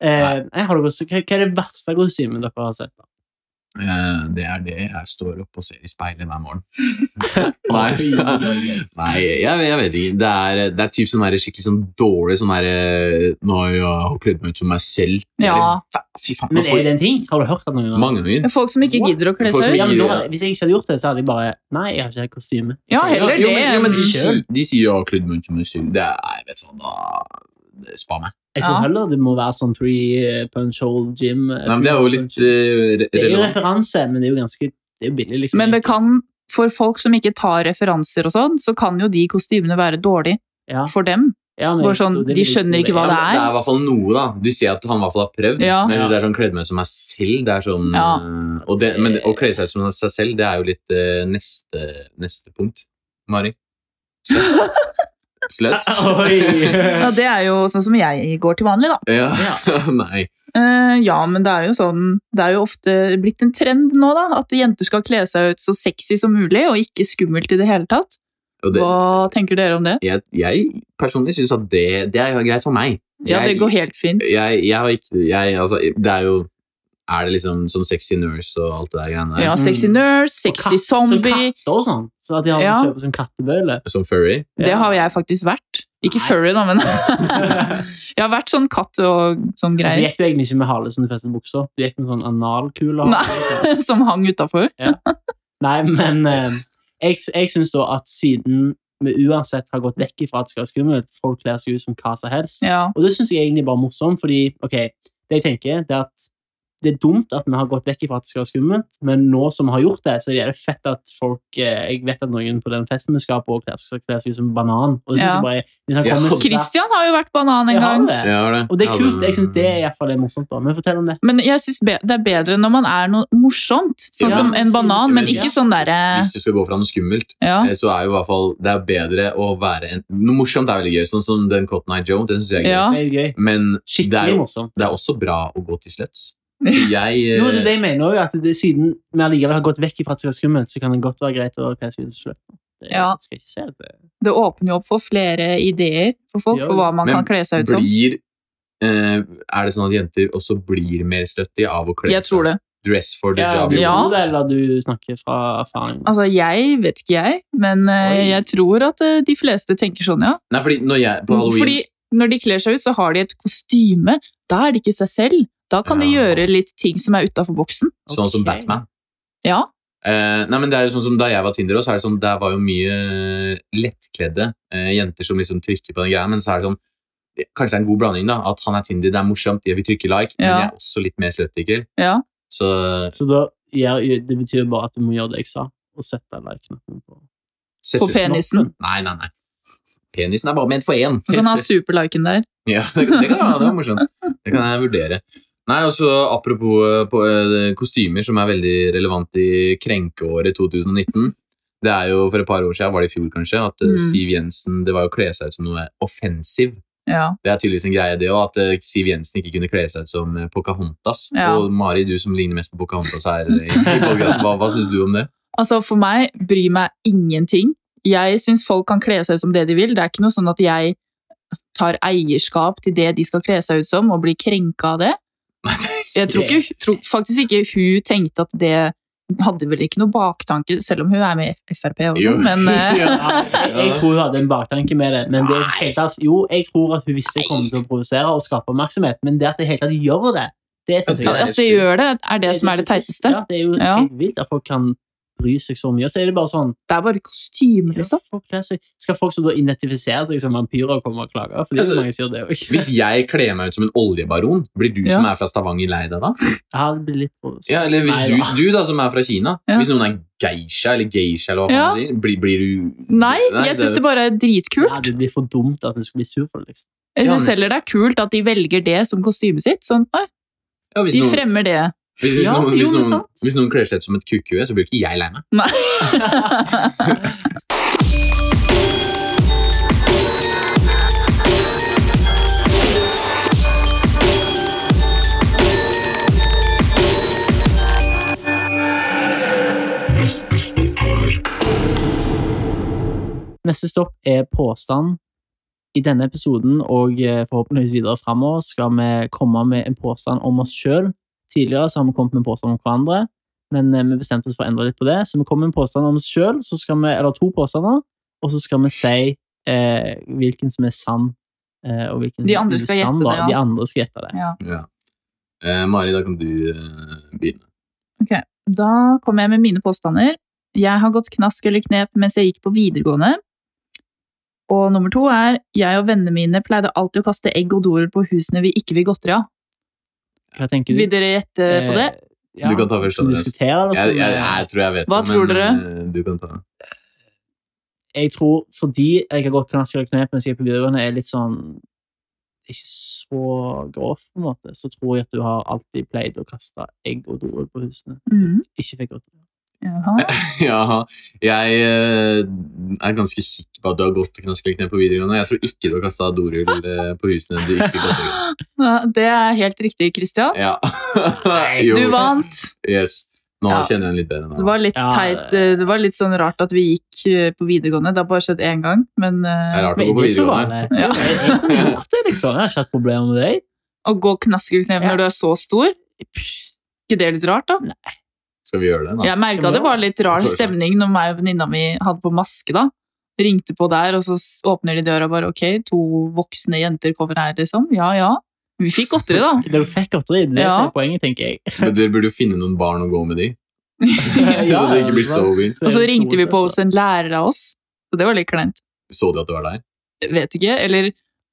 Speaker 2: Eh, nei, har dere også- hva, hva er det verste kostymet dere har sett? da?
Speaker 1: Eh, det er det jeg står opp og ser i speilet hver morgen. Nei, Nei jeg, jeg vet ikke. Det er, det er typ sånn der skikkelig sånn dårlig sånn derre Nei, jeg har kledd meg ut som meg selv.
Speaker 3: Ja.
Speaker 1: Eller, Fy faen.
Speaker 2: Men
Speaker 1: man
Speaker 2: er det
Speaker 1: får-
Speaker 2: en ting? Har du hørt det noen gang?
Speaker 1: Mange ganger.
Speaker 3: Folk som ikke
Speaker 2: What?
Speaker 3: gidder å kle
Speaker 1: Folk som
Speaker 3: seg ut.
Speaker 2: Ja, men da,
Speaker 1: Ja.
Speaker 2: hvis jeg ikke hadde gjort det, så hadde jeg bare Nei, jeg har ikke kostyme.
Speaker 3: Ja, heller
Speaker 1: jo,
Speaker 3: det
Speaker 1: men, jo, men de,
Speaker 3: enn
Speaker 1: sier- de sier jo 'jeg har kledd meg ut som meg selv'. Det er, jeg vet sånn, da det- Spa meg.
Speaker 2: Jeg tror
Speaker 3: Ja.
Speaker 2: heller det må være sånn three eh, punch hole gym. eh,
Speaker 1: Nei, men det er jo
Speaker 2: three
Speaker 1: litt
Speaker 2: punch-
Speaker 1: eh, re-
Speaker 2: Det er jo
Speaker 1: relevant.
Speaker 2: referanse, men det er jo ganske det er jo billig, liksom.
Speaker 3: Men det kan, for folk som ikke tar referanser og sånn, så kan jo de kostymene være dårlige
Speaker 2: ja.
Speaker 3: for dem.
Speaker 2: Ja, men
Speaker 3: Bare
Speaker 2: jeg tror
Speaker 3: sånn,
Speaker 2: det er
Speaker 3: de
Speaker 2: litt-
Speaker 3: skjønner ikke
Speaker 1: Ja,
Speaker 3: hva det
Speaker 1: men
Speaker 3: er.
Speaker 1: Det er i hvert fall noe, da. Du ser at han i hvert fall har prøvd.
Speaker 3: Ja.
Speaker 1: Men jeg synes det er sånn kledd meg ut som meg selv. Det er sånn,
Speaker 3: Ja.
Speaker 1: øh, og det, eh, men å kle seg ut som seg selv, det er jo litt øh, neste, neste punkt. Mari? Sluts.
Speaker 2: Oi!
Speaker 3: Ja, det er jo sånn som jeg går til vanlig, da.
Speaker 1: Ja.
Speaker 2: Ja.
Speaker 1: Nei.
Speaker 3: Eh, ja, men det er jo sånn Det er jo ofte blitt en trend nå, da. At jenter skal kle seg ut så sexy som mulig, og ikke skummelt i det hele tatt.
Speaker 1: Og det,
Speaker 3: Hva tenker dere om det?
Speaker 1: jeg, jeg personlig syns at det, det er greit for meg.
Speaker 3: Ja, det
Speaker 1: Jeg-
Speaker 3: går helt fint.
Speaker 1: jeg, jeg har ikke jeg, altså, Det er jo Er det liksom sånn sexy nurse og alt det der greiene der?
Speaker 3: Ja, sexy
Speaker 2: Mm.
Speaker 3: nurse,
Speaker 2: Og
Speaker 3: sexy
Speaker 2: katt- som
Speaker 3: zombie.
Speaker 2: katter og sånn. Så at de har
Speaker 3: Ja.
Speaker 2: sånn kjøper sånn kattebøyle.
Speaker 1: Som furry?
Speaker 3: Det har jeg faktisk vært. Ikke
Speaker 2: Nei.
Speaker 3: furry, da, men
Speaker 2: Så
Speaker 3: jeg har vært sånn katt og sånn greier
Speaker 2: gikk du egentlig ikke med hale som du festet buksa. Du gikk med sånn analkuler.
Speaker 3: Nei. som hang utafor.
Speaker 2: Nei, men eh, jeg, jeg syns da at siden vi uansett har gått vekk ifra at det skal være skummelt, folk kler seg ut som hva som helst.
Speaker 3: Ja.
Speaker 2: Og det syns jeg egentlig bare er morsomt, fordi ok, det jeg tenker, det er at det er dumt at vi har gått vekk ifra at det skal være skummelt, men nå som vi har gjort det, så er det fett at folk eh, Jeg vet at noen på den festen vi skal på, kler seg kler seg ut som en banan. Og det synes
Speaker 3: Ja.
Speaker 2: jeg bare er- hvis han
Speaker 1: Ja.
Speaker 2: kommer så sterkt-
Speaker 3: Christian har jo vært banan en
Speaker 2: Jeg har
Speaker 3: gang.
Speaker 2: det.
Speaker 1: Ja, det.
Speaker 2: Og det er
Speaker 1: Ja,
Speaker 2: kult. Jeg syns det er i hvert fall det er morsomt. da. Men fortell om det.
Speaker 3: Men jeg syns be- det er bedre når man er noe morsomt, sånn
Speaker 1: Ja.
Speaker 3: som en banan, men ikke sånn derre
Speaker 1: Hvis du skal gå fra noe skummelt,
Speaker 3: ja.
Speaker 1: eh, så er jo i hvert fall Det er bedre å være en Noe morsomt er veldig gøy, sånn som den Cotton Eye Joe. Den synes jeg er gøy.
Speaker 3: ja.
Speaker 2: Det er jo gøy.
Speaker 1: Men det er,
Speaker 2: Skikkelig
Speaker 1: jo,
Speaker 2: morsomt.
Speaker 1: det er også bra å gå til sluts. Jeg eh,
Speaker 2: Jo, det er det jeg mener også, at det, Siden vi allikevel har gått vekk ifra at det skal være skummelt, så kan det godt være greit å kle seg ut som sløp. Det
Speaker 3: Ja.
Speaker 2: skal jeg ikke se det.
Speaker 3: Det åpner jo opp for flere ideer for folk,
Speaker 2: Ja,
Speaker 3: for hva man
Speaker 1: men
Speaker 3: kan kle seg ut som.
Speaker 1: blir eh, Er det sånn at jenter også blir mer slutty av å kle
Speaker 3: Jeg tror det.
Speaker 1: dress for the
Speaker 2: Ja,
Speaker 1: job? liksom.
Speaker 2: du
Speaker 1: you
Speaker 3: Ja.
Speaker 2: tror det, eller du snakker fra erfaring.
Speaker 3: Altså, jeg vet ikke jeg, men eh,
Speaker 1: Oi.
Speaker 3: jeg tror at eh, de fleste tenker sånn, ja.
Speaker 1: Nei, fordi når jeg på Halloween
Speaker 3: Mm, Fordi når de kler seg ut, så har de et kostyme. Da er de ikke seg selv. Da kan de
Speaker 1: Ja.
Speaker 3: gjøre litt ting som er utafor boksen.
Speaker 1: Sånn som
Speaker 2: Ok.
Speaker 1: Batman.
Speaker 3: Ja.
Speaker 1: Eh, nei, men det er jo sånn som Da jeg var Tinder, også, så er det sånn, der var jo mye lettkledde eh, jenter som liksom trykker på den greia, men så er det sånn Kanskje det er en god blanding, da. At han er Tinder, det er morsomt, jeg vil trykke like, men
Speaker 3: Ja.
Speaker 1: jeg er også litt mer sluttiker.
Speaker 3: Ja.
Speaker 1: Så eh,
Speaker 2: Så da, ja, det betyr bare at du må gjøre det jeg sa, og sette den der knappen på.
Speaker 1: sett
Speaker 3: På
Speaker 1: ut-
Speaker 3: pen- Penisen.
Speaker 1: Nei, nei, nei. Penisen er bare ment for én.
Speaker 3: Du kan ha superliken der.
Speaker 1: Ja, det, det kan være det er morsomt. Det kan jeg vurdere. Nei, også Apropos eh, på, eh, kostymer, som er veldig relevant i krenkeåret 2019. Det er jo For et par år siden, var det i fjor kanskje, at eh,
Speaker 3: Mm.
Speaker 1: Siv Jensen Det var jo å kle seg ut som noe offensiv.
Speaker 3: Ja.
Speaker 1: Det er tydeligvis en greie, det òg, at eh, Siv Jensen ikke kunne kle seg ut som eh, Pocahontas.
Speaker 3: Ja.
Speaker 1: Og Mari, du som ligner mest på Pocahontas her, eh, i, i podcasten, hva, hva syns du om det?
Speaker 3: Altså, for meg bryr meg ingenting. Jeg syns folk kan kle seg ut som det de vil. Det er ikke noe sånn at jeg tar eierskap til det de skal kle seg ut som, og blir krenka av det. Jeg tror, ikke, tror faktisk ikke hun tenkte at det hadde vel ikke noe baktanke, selv om hun er med i Frp og
Speaker 1: Jo.
Speaker 3: sånn, men eh,
Speaker 1: Ja.
Speaker 2: Jeg, jeg tror hun hadde en baktanke med det. Men det er helt tatt, jo, jeg tror at hun visste jeg kom til å provosere og skape oppmerksomhet, men det at det helt tatt gjør det, det synes jeg
Speaker 1: Ja,
Speaker 3: at det gjør det, er det som er det
Speaker 2: så trist.
Speaker 3: teiteste.
Speaker 2: Ja, det er jo
Speaker 3: Ja.
Speaker 2: helt vilt at folk kan bry seg så mye. Og så er det bare sånn
Speaker 3: Det er bare kostyme,
Speaker 2: ja,
Speaker 3: liksom.
Speaker 2: folk kler seg- Skal folk som da identifisere seg som vampyrer, komme og klage? For det er
Speaker 1: Altså,
Speaker 2: så mange som gjør det også.
Speaker 1: Hvis jeg kler meg ut som en oljebaron, blir du som er fra Stavanger lei deg da?
Speaker 2: Ja, det blir litt provos-
Speaker 1: Ja, eller hvis
Speaker 2: Nei
Speaker 1: du,
Speaker 2: da.
Speaker 1: du da, som er fra Kina,
Speaker 3: Ja.
Speaker 1: hvis noen er geisha eller geisha, eller hva
Speaker 3: Ja.
Speaker 1: man sier, blir, blir du
Speaker 3: Nei, jeg syns det bare er
Speaker 2: Ja,
Speaker 3: dritkult.
Speaker 2: det blir for dumt at du skal bli sur for det. liksom.
Speaker 3: Jeg
Speaker 1: Ja,
Speaker 3: syns
Speaker 1: men-
Speaker 3: heller det er kult at de velger det som kostymet sitt. Sånn, «Oi,
Speaker 1: ja, hvis,
Speaker 3: de
Speaker 1: noen,
Speaker 3: fremmer det.
Speaker 1: hvis, hvis,
Speaker 3: Ja,
Speaker 1: noen,
Speaker 3: jo,
Speaker 1: hvis,
Speaker 3: men
Speaker 1: noen,
Speaker 3: sant.
Speaker 1: hvis noen kler seg ut som et kukkhue, så blir ikke jeg lei meg.
Speaker 2: Neste stopp er påstand. I denne episoden og eh, forhåpentligvis videre fremover skal vi komme med en påstand om oss sjøl. Tidligere så har vi kommet med en påstand om hverandre, men eh, vi bestemte oss for å endre litt på det. Så vi kommer med en påstand om oss sjøl, eller to påstander, og så skal vi si eh, hvilken som er sann. Eh, og hvilken som
Speaker 3: De
Speaker 2: er
Speaker 3: andre skal
Speaker 2: usann, da.
Speaker 3: gjette det, ja.
Speaker 2: De andre skal gjette det.
Speaker 1: Ja. Eh, Mari, da kan du eh, begynne.
Speaker 3: Da kommer jeg med mine påstander. Jeg har gått knask eller knep mens jeg gikk på videregående. Og nummer to er jeg og vennene mine pleide alltid å kaste egg og dorer på husene vi ikke vil godteri av.
Speaker 2: Hva tenker du?
Speaker 3: Vil dere gjette på det?
Speaker 2: Eh, ja,
Speaker 1: Du kan ta først,
Speaker 2: Skal vi
Speaker 1: Andreas.
Speaker 2: diskutere det?
Speaker 1: Jeg, jeg,
Speaker 2: som,
Speaker 1: jeg,
Speaker 2: eh,
Speaker 1: tror jeg vet
Speaker 3: Hva
Speaker 1: det,
Speaker 3: tror
Speaker 1: men
Speaker 3: dere?
Speaker 1: eh, du kan ta den.
Speaker 2: jeg tror fordi jeg har gått knask eller knep mens jeg er på videregående, er litt sånn ikke så grov, på en måte, så tror jeg at du har alltid pleid å kaste egg og doer på husene.
Speaker 3: Mhm.
Speaker 2: Ikke fikk godt.
Speaker 3: Jaha.
Speaker 1: Ja, jeg eh, er ganske sikker på at du har gått knaskeløk ned på videregående. Jeg tror ikke du har kasta dorull eh, på husene du ikke kasta.
Speaker 3: Ja, Det er helt riktig, Christian.
Speaker 1: Ja.
Speaker 2: Nei,
Speaker 1: Jo,
Speaker 3: Du vant.
Speaker 1: Yes. Nå
Speaker 3: Ja.
Speaker 1: kjenner jeg den litt bedre.
Speaker 3: Det
Speaker 1: Nå.
Speaker 3: var litt
Speaker 2: Ja.
Speaker 3: teit. eh, Det var litt sånn rart at vi gikk eh, på videregående. Det har bare skjedd én gang, men
Speaker 1: Det er
Speaker 3: eh,
Speaker 1: rart å
Speaker 2: Men
Speaker 1: gå på
Speaker 2: ikke så
Speaker 1: videregående.
Speaker 2: gale.
Speaker 3: Ja.
Speaker 2: Jeg jeg kunne gjort det, liksom. Jeg har ikke hatt problemer med det.
Speaker 3: å gå knaskelknev
Speaker 2: Ja.
Speaker 3: når du er så stor ikke det er litt rart, da?
Speaker 1: Skal vi gjøre det? da?
Speaker 3: Jeg merka det var litt rar
Speaker 1: Jeg tror det.
Speaker 3: stemning når meg og venninna mi hadde på maske, da. Ringte på der, og så s- åpner de døra og bare Ok, to voksne jenter kommer her, liksom. Ja ja. Vi fikk godteri, da.
Speaker 2: Dere fikk godteri. Det er det
Speaker 3: Ja.
Speaker 2: som er poenget, tenker jeg.
Speaker 1: Men Dere burde jo finne noen barn å gå med de.
Speaker 2: Ja,
Speaker 1: så det ikke blir
Speaker 2: ja,
Speaker 1: så vilt.
Speaker 3: Og så ringte vi på
Speaker 1: altså.
Speaker 3: hos en lærer av oss, og det var litt kleint.
Speaker 1: Så de at det var deg?
Speaker 3: Vet ikke. Eller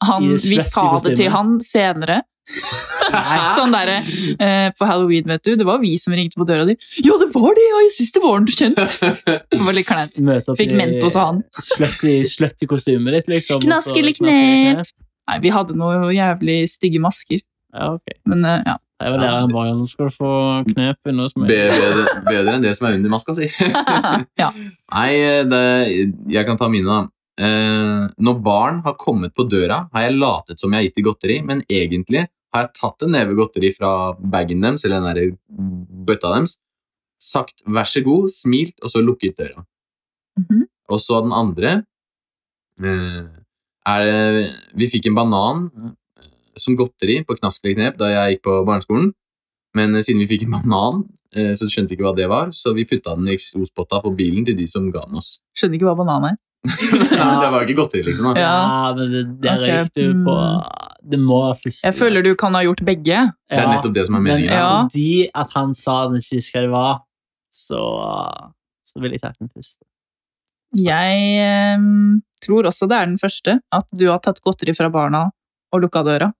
Speaker 3: han,
Speaker 2: I det
Speaker 3: vi
Speaker 2: svette
Speaker 3: sa det til
Speaker 2: kostymet.
Speaker 3: han senere. Sånn derre eh, på halloween, vet du. Det var vi som ringte på døra di. Ja, det var det! Ja, jeg syns det var kjent. Det var litt kleint.
Speaker 2: Møte opp
Speaker 3: Fikk
Speaker 2: i-
Speaker 3: Mentos av han.
Speaker 2: Sløtt i, sløtt i kostymet ditt, liksom. og så
Speaker 3: Knaskelig
Speaker 2: knaskelig knep.
Speaker 3: Nei, vi hadde noe jævlig stygge masker.
Speaker 2: Ja, ok.
Speaker 3: Men eh, ja.
Speaker 2: Jeg var
Speaker 1: Ja,
Speaker 2: læreren bare, nå skal du få knep i noe som
Speaker 1: Be- bedre, bedre enn det som er under maska, si.
Speaker 3: ja.
Speaker 1: Nei, eh, det, jeg kan ta mine, da. Eh, når barn har kommet på døra, har jeg latet som jeg har gitt dem godteri, men egentlig har jeg tatt en neve godteri fra bagen deres, eller den der bøtta deres, sagt 'vær så god', smilt, og så lukket døra.
Speaker 3: Mhm.
Speaker 1: Og så den andre eh, er det, Vi fikk en banan eh, som godteri på knaskelig knep da jeg gikk på barneskolen. Men eh, siden vi fikk en banan, eh, så skjønte vi ikke hva det var, så vi putta den i eksospotta på bilen til de som ga den oss.
Speaker 3: Skjønner ikke hva banan er.
Speaker 1: Nei, det var jo ikke godteri, liksom. da.
Speaker 3: Ja.
Speaker 2: Ja, men det, der
Speaker 3: Ok, Mm.
Speaker 2: gikk du på Det må være første.
Speaker 3: Jeg føler du kan ha gjort begge.
Speaker 1: Det er nettopp det som er meningen.
Speaker 2: Men
Speaker 3: Ja.
Speaker 2: fordi at han sa den ikke visste hva det var, så, så ville jeg tatt den første.
Speaker 3: Jeg eh, tror også det er den første. At du har tatt godteri fra barna og lukka døra.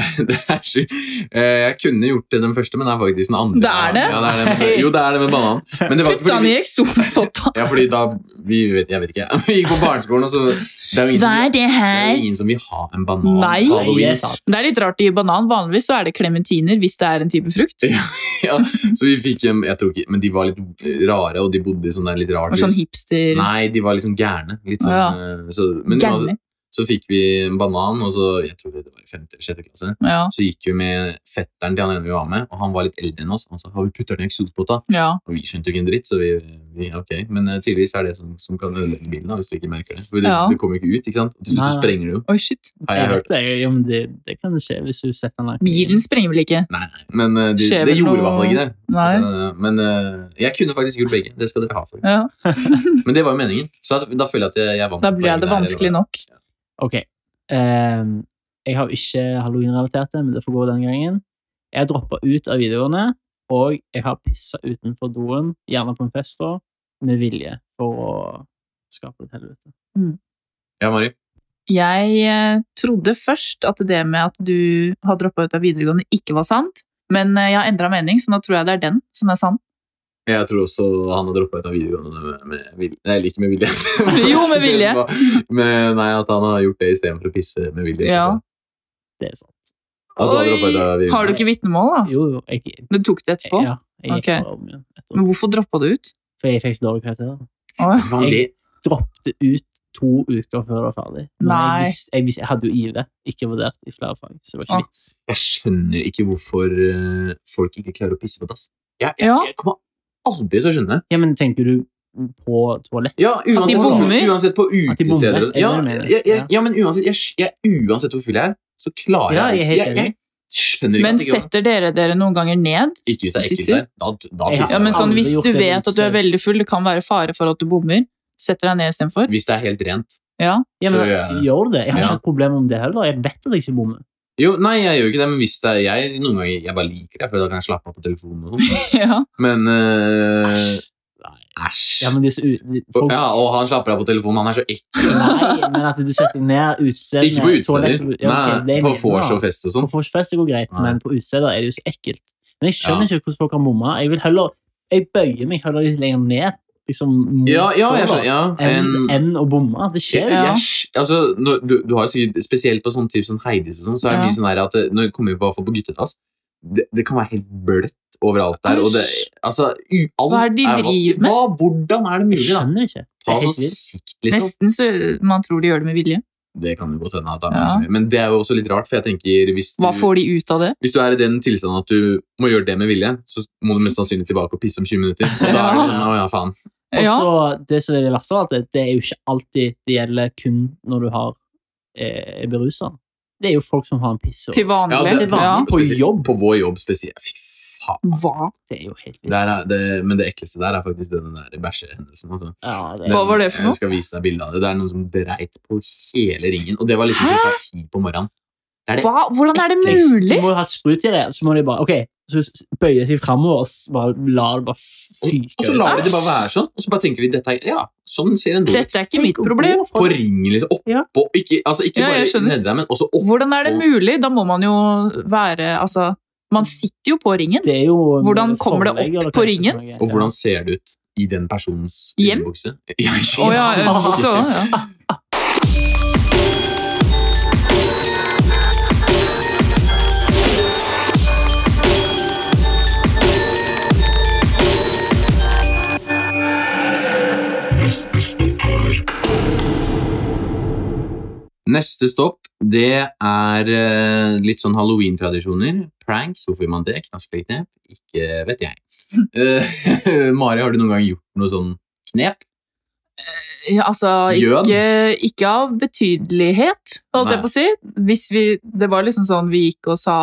Speaker 1: Det er sju- Eh, Jeg kunne gjort det den første, men det er faktisk den andre.
Speaker 3: Det er det?
Speaker 1: Ja, det er det med, jo, det er det med banan. Men det var ikke
Speaker 3: Putta
Speaker 1: fordi
Speaker 3: den
Speaker 1: vi,
Speaker 3: i eksospotta!
Speaker 1: ja, fordi da vi vet, Jeg vet ikke. Vi gikk på barneskolen, og så Det er jo ingen,
Speaker 3: Hva
Speaker 1: som,
Speaker 3: er det
Speaker 1: det er jo
Speaker 3: her?
Speaker 1: ingen som vil ha en banan
Speaker 3: Nei.
Speaker 1: på
Speaker 2: Nei, det
Speaker 1: halloween.
Speaker 2: er sant.
Speaker 3: Det er litt rart å gi banan. Vanligvis så er det klementiner hvis det er en type frukt.
Speaker 1: Ja, så vi fikk em, Jeg tror ikke Men de var litt rare, og de bodde i sånn der litt rart
Speaker 3: Og sånn
Speaker 1: hus.
Speaker 3: hipster
Speaker 1: Nei, de var liksom gærne. Litt sånn, eh, så, men
Speaker 3: Gærne.
Speaker 1: uansett, så fikk vi en banan, og så Jeg tror det var i femte eller sjette klasse.
Speaker 3: Ja.
Speaker 1: Så gikk vi med fetteren til han ene vi var med, og han var litt eldre enn oss. og Han sa har vi putter den i eksospotta.
Speaker 3: ja.
Speaker 1: Og vi skjønte jo ikke en dritt, så vi, vi ok. Men eh, tydeligvis er det som, som kan ødelegge bilen, da, hvis du ikke merker det. For det,
Speaker 3: Ja.
Speaker 1: det kommer jo ikke ut, ikke sant? Og til slutt så
Speaker 2: Nei, nei.
Speaker 1: sprenger det jo,
Speaker 3: Oi, shit.
Speaker 1: har
Speaker 2: Jeg
Speaker 1: jeg hørt.
Speaker 2: vet det, jeg- jo, men det, det kan skje hvis du setter den langt.
Speaker 3: Bilen sprenger vel ikke?
Speaker 1: Nei, nei. Men eh, det,
Speaker 3: Skjer
Speaker 1: det
Speaker 3: vel
Speaker 1: gjorde i
Speaker 3: noe-
Speaker 1: hvert fall ikke det.
Speaker 3: Nei.
Speaker 1: Så, eh, men eh, jeg kunne faktisk gjort begge. Det skal dere ha for.
Speaker 3: Ja.
Speaker 1: Men det var jo meningen. Så at, da føler jeg at jeg, jeg vant.
Speaker 3: Da ble det vanskelig nok.
Speaker 2: Ok. ehm, jeg har ikke halloween-relatert det, men det får gå den gangen. Jeg droppa ut av videregående, og jeg har pissa utenfor doen, gjerne på en fest, da, med vilje for å skape et helvete.
Speaker 1: Ja, Mari.
Speaker 3: Jeg eh, trodde først at det med at du har droppa ut av videregående, ikke var sant. Men eh, jeg har endra mening, så nå tror jeg det er den som er sann.
Speaker 1: Jeg tror også han har droppa ut av videregående med, med vilje. Eller ikke med vilje.
Speaker 3: Jo, med vilje.
Speaker 1: Men, nei, at han har gjort det istedenfor å pisse med vilje.
Speaker 3: Ja.
Speaker 2: Det er sant.
Speaker 1: At han har droppet ut av
Speaker 3: Oi,
Speaker 1: videregående.
Speaker 3: har du ikke vitnemål, da?
Speaker 2: Jo, jo, jeg,
Speaker 3: Du tok det etterpå?
Speaker 2: ja, jeg gikk
Speaker 3: Ah. Ok. Mm.
Speaker 2: bare om igjen etterpå.
Speaker 3: Men hvorfor droppa du ut?
Speaker 2: For jeg fikk så dårlige karakterer.
Speaker 3: Å,
Speaker 1: Faen, det,
Speaker 2: Droppte ut to uker før det var ferdig. Men
Speaker 3: Nei.
Speaker 2: jeg, vis, jeg, vis, jeg hadde jo IV, ikke vurdert i flere fag, så det var
Speaker 3: Ah.
Speaker 2: ikke vits.
Speaker 1: Jeg skjønner ikke hvorfor eh, folk ikke klarer å pisse på dass. Jeg, jeg,
Speaker 3: Ja.
Speaker 1: jeg kommer aldri til å skjønne.
Speaker 2: Ja, men tenker du på toalett?
Speaker 1: Ja, uansett,
Speaker 3: de bommer?
Speaker 1: uansett på
Speaker 2: At de bommer,
Speaker 1: utesteder og-
Speaker 2: er det
Speaker 1: ja,
Speaker 2: det du mener?
Speaker 1: jeg- jeg- ja, men uansett, jeg, sk- jeg, uansett hvor full jeg er, så klarer
Speaker 2: Ja, jeg er
Speaker 1: jeg
Speaker 2: helt
Speaker 1: Jeg, jeg skjønner ikke
Speaker 3: Men
Speaker 1: at det går an.
Speaker 3: setter dere dere noen ganger ned?
Speaker 1: Ikke hvis det er ekkelt
Speaker 3: Tisser?
Speaker 1: der. Da, da
Speaker 2: Ja,
Speaker 1: pisser
Speaker 3: Ja, men
Speaker 1: jeg.
Speaker 3: sånn
Speaker 2: Aldri
Speaker 3: Hvis
Speaker 2: gjort
Speaker 3: du
Speaker 2: det
Speaker 3: vet at du er
Speaker 2: selv.
Speaker 3: veldig full, det kan være fare for at du bommer. Setter deg ned istedenfor.
Speaker 1: Hvis det er helt rent.
Speaker 3: Ja.
Speaker 2: Ja, men,
Speaker 1: Så, ja.
Speaker 2: Gjør du det? Jeg har
Speaker 1: Ja.
Speaker 2: ikke hatt problem om det heller. Jeg vet at jeg ikke bommer.
Speaker 1: Jo, nei, jeg gjør ikke det, men hvis det er jeg Noen ganger jeg bare liker det, for da kan jeg slappe av på telefonen og sånn.
Speaker 3: ja.
Speaker 1: Men eh,
Speaker 2: Æsj. Nei.
Speaker 1: Æsj.
Speaker 2: Ja, men disse u- de-
Speaker 1: Og-
Speaker 2: folk,
Speaker 1: ja, og han slapper av på telefonen. Han er så ekkel.
Speaker 2: Nei, men at du setter deg ned utesteder
Speaker 1: Ikke på utesteder. Nei, på vors og fest og sånn.
Speaker 2: På vorsfest går greit,
Speaker 1: Nei.
Speaker 2: men på utesteder er det jo så ekkelt. Men jeg skjønner
Speaker 1: Ja.
Speaker 2: ikke hvordan folk kan bomme. Jeg vil heller Jeg bøyer meg heller litt lenger ned, liksom mot
Speaker 1: Ja, ja, jeg
Speaker 2: sola,
Speaker 1: skjønner. Ja, en-
Speaker 2: enn enn å bomme. Det skjer jo
Speaker 3: Ja.
Speaker 2: ikke.
Speaker 1: Yes. Altså, når, du, du har jo sikkert, spesielt på sånne typ som Heidis og sånn, så er det
Speaker 3: Ja.
Speaker 1: mye sånn her at det- når det kommer på, på guttedass, det, det kan være helt bløtt overalt der. Og det, altså, u, alt
Speaker 3: Hva er det de driver med?
Speaker 1: Hva, hvordan er det
Speaker 2: Jeg
Speaker 1: mulig, da?
Speaker 2: skjønner ikke. Det
Speaker 1: Ta
Speaker 2: er
Speaker 1: noe
Speaker 2: helt vilt.
Speaker 1: sikt, liksom.
Speaker 3: Nesten så man tror de gjør det med vilje.
Speaker 1: Det kan jo godt hende. at det er
Speaker 3: Ja.
Speaker 1: mange som gjør. Men det er jo også litt rart, for jeg tenker hvis du,
Speaker 3: Hva får de ut av det?
Speaker 1: hvis du er i den tilstanden at du må gjøre det med vilje, så må du mest sannsynlig tilbake og pisse om 20 minutter. Og da er det
Speaker 3: Ja.
Speaker 1: sånn, å ja, faen.
Speaker 2: Og
Speaker 3: Ja,
Speaker 2: så det som er det verste av alt, er at det er jo ikke alltid det gjelder kun når du har eh, berusa. Det er jo folk som har en pisse.
Speaker 3: til vanlig.
Speaker 1: Ja,
Speaker 3: Ja,
Speaker 1: det-
Speaker 2: På
Speaker 1: Spesielt-
Speaker 2: jobb.
Speaker 1: På vår jobb spesielt. Fy faen.
Speaker 3: Hva?
Speaker 2: Det er jo helt vilt.
Speaker 1: Der er, det, men det ekleste der er faktisk den der bæsjehendelsen. Altså.
Speaker 2: Ja, det
Speaker 3: Hva var det for noe?
Speaker 1: Jeg skal vise deg bildet av det. Det er noen som dreit på hele ringen. Og det var liksom
Speaker 3: Hæ?
Speaker 1: klokka ti på morgenen. Det er det
Speaker 3: Hva? Hvordan er det
Speaker 1: Eklest.
Speaker 2: Du
Speaker 3: mulig?
Speaker 2: må jo ha et sprut i det, så må de bare ok, så s- bøye seg framover og s- bare la det bare fyke.
Speaker 1: Og så lar de det bare være sånn, og så bare tenker de dette er, ja, sånn ser en do ut.
Speaker 3: Dette er ikke mitt problem.
Speaker 1: På ringen, liksom.
Speaker 2: Ja.
Speaker 1: Oppå. Ikke, altså, ikke
Speaker 3: Ja, jeg
Speaker 1: bare
Speaker 3: skjønner.
Speaker 1: nedi der, men også opp.
Speaker 3: Hvordan er det mulig? Da må man jo være Altså, man sitter jo på ringen.
Speaker 2: Det er jo
Speaker 3: Hvordan kommer det opp
Speaker 2: forelegg, eller
Speaker 3: på
Speaker 2: hva det
Speaker 3: ringen?
Speaker 2: heter for noe.
Speaker 1: Og hvordan ser det ut i den personens
Speaker 3: Hjem?
Speaker 1: underbukse? Ja,
Speaker 3: Å ja, ja, så, ja.
Speaker 1: Neste stopp, det er eh, litt sånn Halloween-tradisjoner. Pranks, hvorfor gjør man det? Knaskknep? Ikke vet jeg. Eh, Mari, har du noen gang gjort noe sånn knep?
Speaker 3: Ja, altså,
Speaker 1: Gjøn?
Speaker 3: ikke, ikke av betydelighet, holdt jeg på å si. Hvis vi, det var liksom sånn vi gikk og sa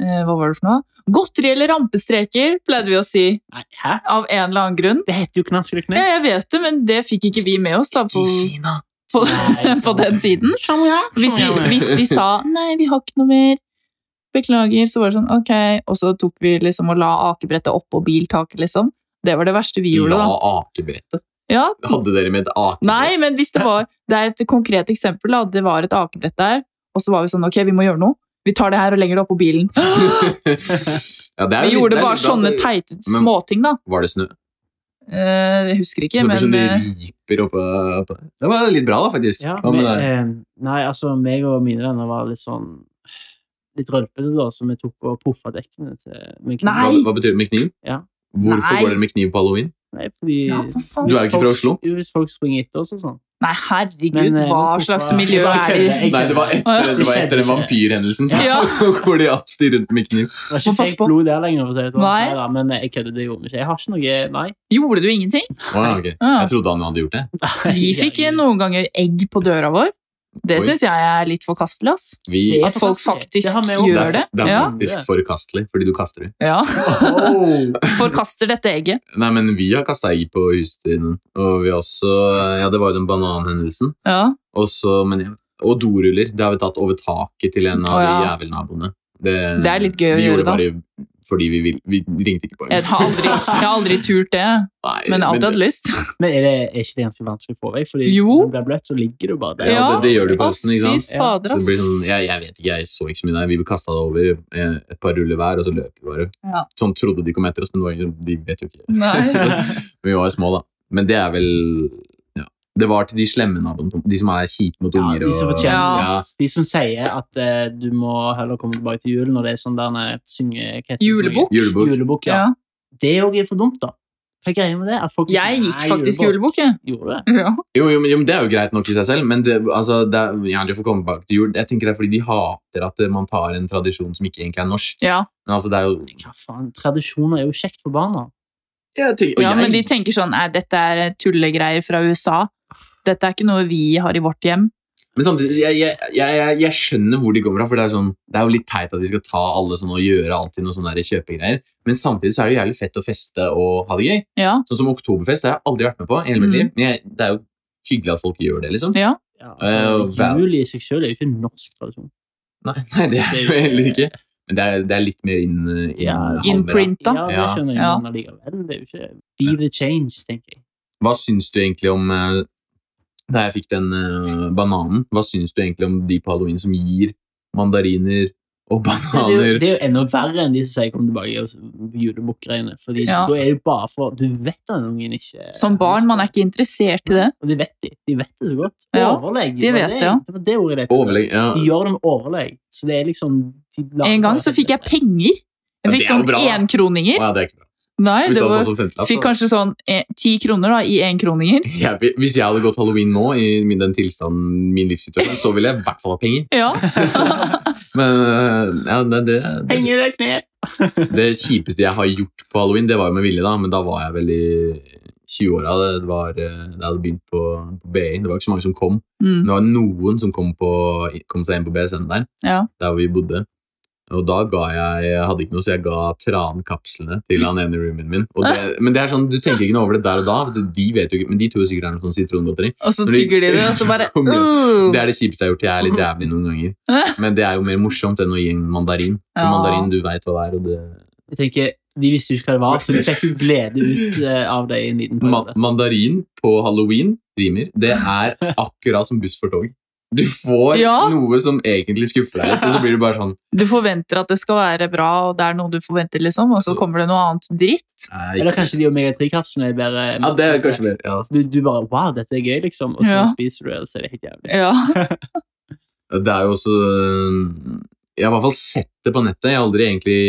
Speaker 3: eh, Hva var det for noe? Godteri eller rampestreker, pleide vi å si.
Speaker 2: Nei, Hæ?
Speaker 3: Av en eller annen grunn.
Speaker 2: Det heter jo knask eller
Speaker 3: Ja,
Speaker 2: knep.
Speaker 3: jeg vet det, men det fikk ikke vi med oss da på,
Speaker 1: Kina!
Speaker 3: på,
Speaker 2: Nei, sånn.
Speaker 3: på
Speaker 2: sant.
Speaker 3: den tiden.
Speaker 2: Sånn,
Speaker 3: Hvis, vi,
Speaker 1: Sånn.
Speaker 3: hvis de sa 'nei, vi har ikke noe mer', beklager, så var det sånn ok. Og så tok vi liksom og la akebrettet oppå biltaket, liksom. Det var det verste vi gjorde,
Speaker 1: La
Speaker 3: da.
Speaker 1: akebrettet.
Speaker 3: Ja,
Speaker 1: Hadde dere med et akebrett?
Speaker 3: Nei, men hvis det var Det er et konkret eksempel. da, Det var et akebrett der, og så var vi sånn Ok, vi må gjøre noe. Vi tar det her og legger det oppå bilen.
Speaker 1: Ja, det er jo
Speaker 3: Vi
Speaker 1: litt-
Speaker 3: gjorde
Speaker 1: det er litt
Speaker 3: bare
Speaker 1: bra
Speaker 3: sånne
Speaker 1: at det-
Speaker 3: teite småting, da.
Speaker 1: Var det snø?
Speaker 3: Eh, Jeg husker ikke,
Speaker 1: det
Speaker 3: men
Speaker 1: blir sånn
Speaker 3: eh,
Speaker 1: riper oppå oppå- Det var litt bra, da, faktisk.
Speaker 2: Ja,
Speaker 1: Hva med
Speaker 2: men,
Speaker 1: deg?
Speaker 2: eh, nei, altså, meg og mine venner var litt sånn litt rølpete, da, så vi tok og puffa dekkene til med kniv.
Speaker 1: Hva,
Speaker 3: Nei.
Speaker 1: hva betyr det med kniv?
Speaker 2: Ja.
Speaker 1: Hvorfor
Speaker 3: Nei.
Speaker 1: går dere med kniv på halloween?
Speaker 2: Nei, fordi
Speaker 3: Ja, for faen.
Speaker 1: Du er jo ikke fra
Speaker 2: folk-
Speaker 1: Oslo.
Speaker 2: Jo, hvis folk springer etter oss og sånn.
Speaker 3: Nei, herregud,
Speaker 2: Men, eh,
Speaker 3: hva
Speaker 2: men
Speaker 3: slags
Speaker 2: hvorfor-
Speaker 3: miljø
Speaker 2: Bare
Speaker 3: er det i?
Speaker 2: kødde, Jeg
Speaker 1: Nei, det var etter, det var etter den vampyrhendelsen, så
Speaker 3: Ja.
Speaker 1: går de alltid rundt med kniv.
Speaker 2: Det var ikke
Speaker 3: Må passe
Speaker 2: fake
Speaker 3: på.
Speaker 2: blod der lenger. For å si det sånn.
Speaker 3: Nei.
Speaker 2: Neida, men jeg kødder, det gjorde vi ikke. Jeg har ikke noe Nei.
Speaker 3: Gjorde du ingenting? Ah.
Speaker 1: Å, ja, ok.
Speaker 3: Ja.
Speaker 1: Jeg trodde han hadde gjort det.
Speaker 3: Vi fikk eh, noen ganger egg på døra vår. Det
Speaker 1: Oi.
Speaker 3: syns jeg er litt forkastelig, ass.
Speaker 1: Vi,
Speaker 2: Det er
Speaker 3: At folk
Speaker 2: forkastelig. Det
Speaker 3: faktisk
Speaker 2: har vi også.
Speaker 1: det,
Speaker 3: gjør
Speaker 1: er,
Speaker 3: det.
Speaker 1: det er
Speaker 3: Ja,
Speaker 1: faktisk forkastelig, fordi du kaster det.
Speaker 3: ja.
Speaker 2: Oh.
Speaker 3: Forkaster dette egget.
Speaker 1: Nei, men vi har kasta egg på huset til noen, og vi har også Ja, det var jo den bananhendelsen.
Speaker 3: Ja.
Speaker 1: Og så, men ja. Og doruller. Det har vi tatt over taket til en av de
Speaker 3: Å, ja.
Speaker 1: jævelnaboene. Det,
Speaker 3: Det er litt gøy å
Speaker 1: vi
Speaker 3: gjøre,
Speaker 1: gjorde
Speaker 3: da.
Speaker 1: bare fordi vi vil. Vi ringte ikke på
Speaker 3: Jeg har aldri, jeg har aldri turt det,
Speaker 1: Nei,
Speaker 3: men jeg har alltid
Speaker 1: det-
Speaker 3: hatt lyst.
Speaker 2: Men er, det, er ikke det ganske vanskelig å få vekk? Fordi
Speaker 3: Jo.
Speaker 2: når du blir bløtt, så ligger du bare der.
Speaker 1: Ja,
Speaker 3: Ja.
Speaker 1: det, det gjør du på
Speaker 3: Å,
Speaker 1: høsten, ikke sant?
Speaker 3: Fy fader,
Speaker 1: Så det
Speaker 3: ass.
Speaker 1: blir sånn, jeg, jeg vet ikke, jeg så ikke så mye der. Vi kasta det over eh, et par ruller hver, og så løp vi bare.
Speaker 3: Ja.
Speaker 1: Sånn trodde de kom etter oss, men det var ingen, de vet jo ikke.
Speaker 3: Nei.
Speaker 1: Vi var jo små, da. Men det er vel ja. Det var til de slemme naboene, de som er kjipe mot
Speaker 2: Ja,
Speaker 1: unger.
Speaker 2: de som
Speaker 1: og-
Speaker 2: fortjener
Speaker 1: Ja.
Speaker 2: det. De som sier at eh, du må heller komme tilbake til jul når det er sånn der nei, synge hva heter det?
Speaker 3: Julebukk?
Speaker 1: Julebukk.
Speaker 2: Julebukk, ja.
Speaker 3: Ja.
Speaker 2: Det òg er for dumt, da. Hva er greia med det? At folk
Speaker 3: Jeg
Speaker 2: sier,
Speaker 3: gikk
Speaker 2: «Nei,
Speaker 3: faktisk julebukk, jeg.
Speaker 2: Gjorde du det?
Speaker 3: Ja.
Speaker 1: Jo, jo, men, jo, men Det er jo greit nok i seg selv, men det, altså, det er, ja, de får komme tilbake til jul. Jeg tenker det er fordi de hater at eh, man tar en tradisjon som ikke egentlig er norsk.
Speaker 3: Ja.
Speaker 1: Men altså, det er jo...
Speaker 2: Hva faen? Tradisjoner er jo kjekt for barna.
Speaker 1: Jeg tenker, og
Speaker 3: ja,
Speaker 1: jeg-
Speaker 3: men de tenker sånn Nei, dette er tullegreier fra USA. Dette er ikke noe vi har i vårt hjem.
Speaker 1: Men samtidig, jeg, jeg, jeg, jeg, jeg skjønner hvor de kommer fra, for det er, sånn, det er jo litt teit at vi skal ta alle sånn og gjøre alltid noen sånne der kjøpegreier, men samtidig så er det jo jævlig fett å feste og ha det gøy.
Speaker 3: Ja.
Speaker 1: Sånn som oktoberfest, det har jeg aldri vært med på i hele mitt
Speaker 3: Mm.
Speaker 1: liv, men jeg, det er jo hyggelig at folk gjør det, liksom.
Speaker 3: ja.
Speaker 2: Ja,
Speaker 1: Eh,
Speaker 2: altså,
Speaker 1: vel.
Speaker 2: jul i seg selv er jo ikke en norsk tradisjon.
Speaker 1: Nei, nei, det er jo heller ikke. Men det er, det er litt mer inn... inn
Speaker 2: Ja,
Speaker 1: handler, da.
Speaker 3: Innprinta.
Speaker 2: Ja, det
Speaker 1: Ja.
Speaker 2: skjønner jeg,
Speaker 3: Ja.
Speaker 2: men allikevel. Det er jo ikke Be the change, tenker jeg.
Speaker 1: Hva syns du egentlig om eh, Da jeg fikk den eh, bananen, hva syns du egentlig om de på halloween som gir mandariner og
Speaker 2: Det er, jo,
Speaker 1: bananer?
Speaker 2: det er jo enda verre enn de som sier 'kom tilbake' og så- julebukk-greiene. Fordi
Speaker 3: Ja.
Speaker 2: da er det bare for Du vet at den ungen ikke
Speaker 3: Som barn, man er ikke interessert i det.
Speaker 2: Og de vet det. De vet det så godt.
Speaker 3: Ja,
Speaker 2: Overlegg.
Speaker 3: de
Speaker 2: var
Speaker 3: vet
Speaker 2: det,
Speaker 3: det, ja.
Speaker 2: det var det ordet jeg lette etter.
Speaker 1: Overlegg, ja.
Speaker 2: De gjør det med overlegg. Så det er liksom de lager-
Speaker 3: En gang så fikk jeg penger.
Speaker 1: Ja, det
Speaker 3: Jeg
Speaker 1: er
Speaker 3: fikk
Speaker 1: jo
Speaker 3: sånn
Speaker 1: bra, da.
Speaker 3: enkroninger.
Speaker 1: Å ja, det er ikke bra.
Speaker 3: Nei,
Speaker 1: Hvis
Speaker 3: det
Speaker 1: du hadde fått sånn
Speaker 3: var,
Speaker 1: femtelapp,
Speaker 3: fikk
Speaker 1: så
Speaker 3: kanskje sånn ti kroner da, i enkroninger.
Speaker 1: jeg, Hvis jeg hadde gått halloween nå, i min, den tilstanden, min livssituasjon, så ville jeg i hvert fall ha penger.
Speaker 3: Ja.
Speaker 1: Men øh, ja, det, det, det,
Speaker 2: Penger i kne!
Speaker 1: det kjipeste jeg har gjort på halloween, det var jo med vilje, da, men da var jeg vel i 20-åra. Det var, eh, da jeg hadde begynt på, på BI. Det var ikke så mange som kom.
Speaker 3: Mm.
Speaker 1: Det var noen som kom, på, kom seg inn på BSN der,
Speaker 3: Ja.
Speaker 1: der hvor vi bodde. Og da ga jeg Jeg hadde ikke noe, så jeg ga trankapslene til han ene roomien min. Og det, men det er sånn, du tenker ikke noe over det der og da, for de vet jo ikke, men de tror jo sikkert det er noe sånn sitrongodteri.
Speaker 3: Og så
Speaker 1: Når de-
Speaker 3: tygger de det, og så bare uh!
Speaker 1: Kom igjen.
Speaker 3: «Åh!»
Speaker 1: Det er det kjipeste jeg har gjort. Jeg er litt jævlig noen ganger. Men det er jo mer morsomt enn å gi en mandarin. For
Speaker 3: Ja.
Speaker 1: mandarin, du veit hva det er. Og det,
Speaker 2: Jeg tenker, De visste jo ikke hva det var, så de fikk jo glede ut eh, av det i en liten
Speaker 1: Ma
Speaker 2: periode.
Speaker 1: mandarin på halloween rimer. Det er akkurat som buss for tog. Du får
Speaker 3: Ja.
Speaker 1: noe som egentlig skuffer deg litt, og så blir det bare sånn
Speaker 3: Du forventer at det skal være bra, og det er noe du forventer, liksom, og så kommer det noe annet dritt.
Speaker 1: nei,
Speaker 2: Eller kanskje de omega-3-kapslene er bedre.
Speaker 1: Ja, det er kanskje mer. Ja.
Speaker 2: du, du bare Wow, dette er gøy, liksom. Og så
Speaker 3: Ja.
Speaker 2: spiser du det, og så er det helt jævlig.
Speaker 3: Ja.
Speaker 1: Det er jo også eh, Jeg har i hvert fall sett det på nettet. Jeg har aldri egentlig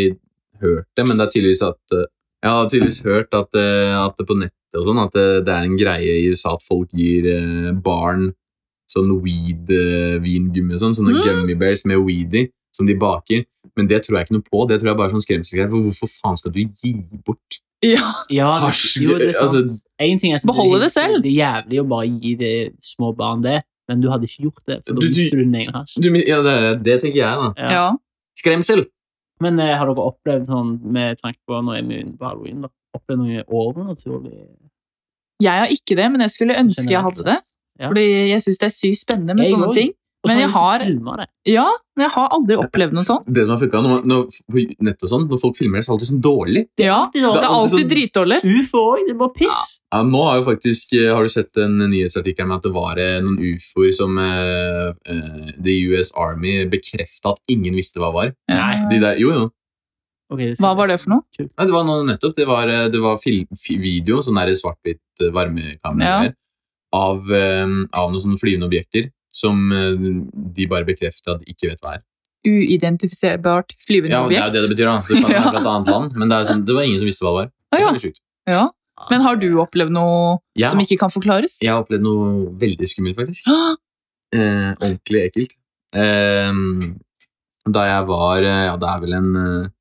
Speaker 1: hørt det, men det er tydeligvis at eh, Jeg har tydeligvis hørt at, eh, at det på nettet og sånn, at det, det er en greie i USA at folk gir eh, barn sånn weed-vingummi og sånn, sånne
Speaker 3: Mm.
Speaker 1: gummy bears med weed i, som de baker. Men det tror jeg ikke noe på. Det tror jeg bare er sånn skremselsgreier. For hvorfor faen skal du gi bort
Speaker 3: ja.
Speaker 2: Ja, det-
Speaker 1: hasj?
Speaker 2: jo, det er sant.
Speaker 1: Altså,
Speaker 2: En ting er at det er
Speaker 3: Beholde
Speaker 2: helt-
Speaker 3: det selv.
Speaker 2: Det er jævlig å bare gi de små barn det, men du hadde ikke gjort det. For da
Speaker 1: Du- du-
Speaker 2: mister du din egen hasj.
Speaker 1: du, ja, det, det tenker jeg, da.
Speaker 2: Ja.
Speaker 3: ja.
Speaker 1: Skremsel!
Speaker 2: Men eh, har dere opplevd sånn med tanke på når vi er inne på halloween, da, opplevd noe overnaturlig?
Speaker 3: Jeg har ikke det, men jeg skulle ønske jeg hadde det.
Speaker 2: Ja.
Speaker 3: Fordi jeg syns det er sykt spennende med
Speaker 2: Jeg
Speaker 3: sånne
Speaker 2: også.
Speaker 3: ting.
Speaker 2: Og så
Speaker 3: Men jeg
Speaker 2: har jeg lyst til å filme det.
Speaker 3: Ja, men jeg har aldri opplevd noe sånt.
Speaker 1: Det som har funka når, når, på nett og sånn, når folk filmer det, så er det alltid sånn dårlig.
Speaker 3: Ja,
Speaker 2: Det er
Speaker 3: Det er
Speaker 1: alltid
Speaker 3: alltid
Speaker 1: sånn-
Speaker 3: dritdårlig.
Speaker 2: Ufo òg, det er bare piss.
Speaker 1: Ja, nå har jo faktisk, eh, har du sett en nyhetsartikkel med at det var eh, noen ufoer som eh, eh, The US Army bekrefta at ingen visste hva var.
Speaker 3: Ja.
Speaker 1: De der, jo, jo.
Speaker 2: Ok, det
Speaker 3: Hva var det for noe?
Speaker 1: Nei, det var noe nettopp. Det var, eh, det var fil, fi- video, sånn der svart-hvitt eh, varmekamera
Speaker 3: Ja.
Speaker 1: der, av, eh, av noen sånne flyvende objekter som eh, de bare bekrefta at de ikke vet hva er.
Speaker 3: Uidentifiserbart flyvende
Speaker 1: Ja, men Det er jo
Speaker 3: objekt.
Speaker 1: det det betyr, da. Så det kan
Speaker 3: Ja.
Speaker 1: være fra et annet land. Men det, er sånn, det var ingen som visste hva det var.
Speaker 3: Å, ja.
Speaker 1: Det er sjukt.
Speaker 3: Ja. Men har du opplevd noe
Speaker 1: Jeg
Speaker 3: som
Speaker 1: har-
Speaker 3: ikke kan forklares?
Speaker 1: jeg har opplevd noe veldig skummelt, faktisk.
Speaker 3: Hå!
Speaker 1: Eh, ordentlig ekkelt. Ehm, da jeg var eh, Ja, det er vel en eh,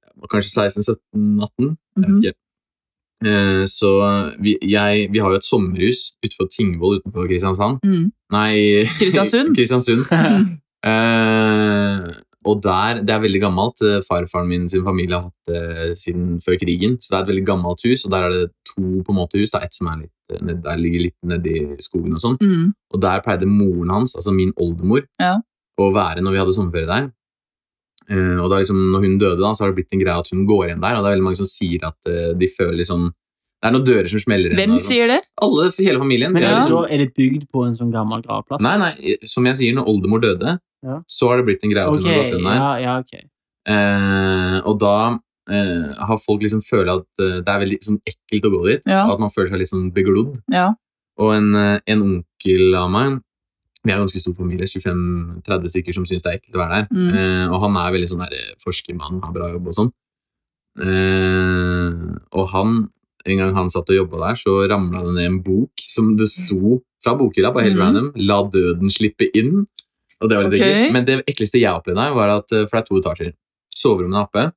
Speaker 1: jeg var Kanskje 16-17-18? Jeg vet
Speaker 3: Mhm.
Speaker 1: ikke. Eh, så vi, jeg, vi har jo et sommerhus utenfor Tingvoll utenfor Kristiansand.
Speaker 3: Mm.
Speaker 1: Nei
Speaker 3: Kristiansund?
Speaker 1: Kristiansund.
Speaker 3: Mm.
Speaker 1: Eh, og der, Det er veldig gammelt. Eh, Farfaren min sin familie har hatt det siden før krigen. Så det er et veldig gammelt hus, og der er det to på en måte hus. Det er et som er litt, eh, ned, der ligger litt nedi skogen og sånn.
Speaker 3: Mm.
Speaker 1: Og der pleide moren hans, altså min oldemor,
Speaker 3: Ja.
Speaker 1: å være når vi hadde sommerferie der. Eh, og da liksom, når hun døde, da, så har det blitt en greie at hun går igjen der. Og det er veldig mange som sier at eh, de føler liksom Det er noen dører som smeller igjen.
Speaker 3: Hvem
Speaker 1: og sånn.
Speaker 3: sier det?
Speaker 1: Alle, hele familien.
Speaker 2: Men
Speaker 1: Vi
Speaker 2: er,
Speaker 1: er
Speaker 2: det
Speaker 3: Ja.
Speaker 2: så,
Speaker 1: liksom,
Speaker 2: er det bygd på en sånn gammel gravplass?
Speaker 1: nei, nei, som jeg sier, når oldemor døde,
Speaker 2: Ja.
Speaker 1: så har det blitt en greie at
Speaker 2: Ok,
Speaker 1: hun har gått igjen der.
Speaker 2: ja, ja, ok.
Speaker 1: Eh, og da eh, har folk liksom følt at eh, det er veldig sånn ekkelt å gå dit.
Speaker 3: Ja.
Speaker 1: og At man føler seg litt sånn beglodd.
Speaker 3: Ja.
Speaker 1: Og en, eh, en onkel av meg Vi er en ganske stor familie, 25-30 stykker som syns det er ekkelt å være der.
Speaker 3: Mm.
Speaker 1: Eh, og han er veldig sånn der eh, forskermann, har bra jobb og sånn. Eh, og han En gang han satt og jobba der, så ramla det ned en bok som det sto fra bokhylla, bare helt
Speaker 3: Mhm.
Speaker 1: random, 'La døden slippe inn'. Og det var litt
Speaker 3: Ok.
Speaker 1: ekkelt. Men det ekleste jeg opplevde der, var at eh, For det er to etasjer. Soverommene er oppe.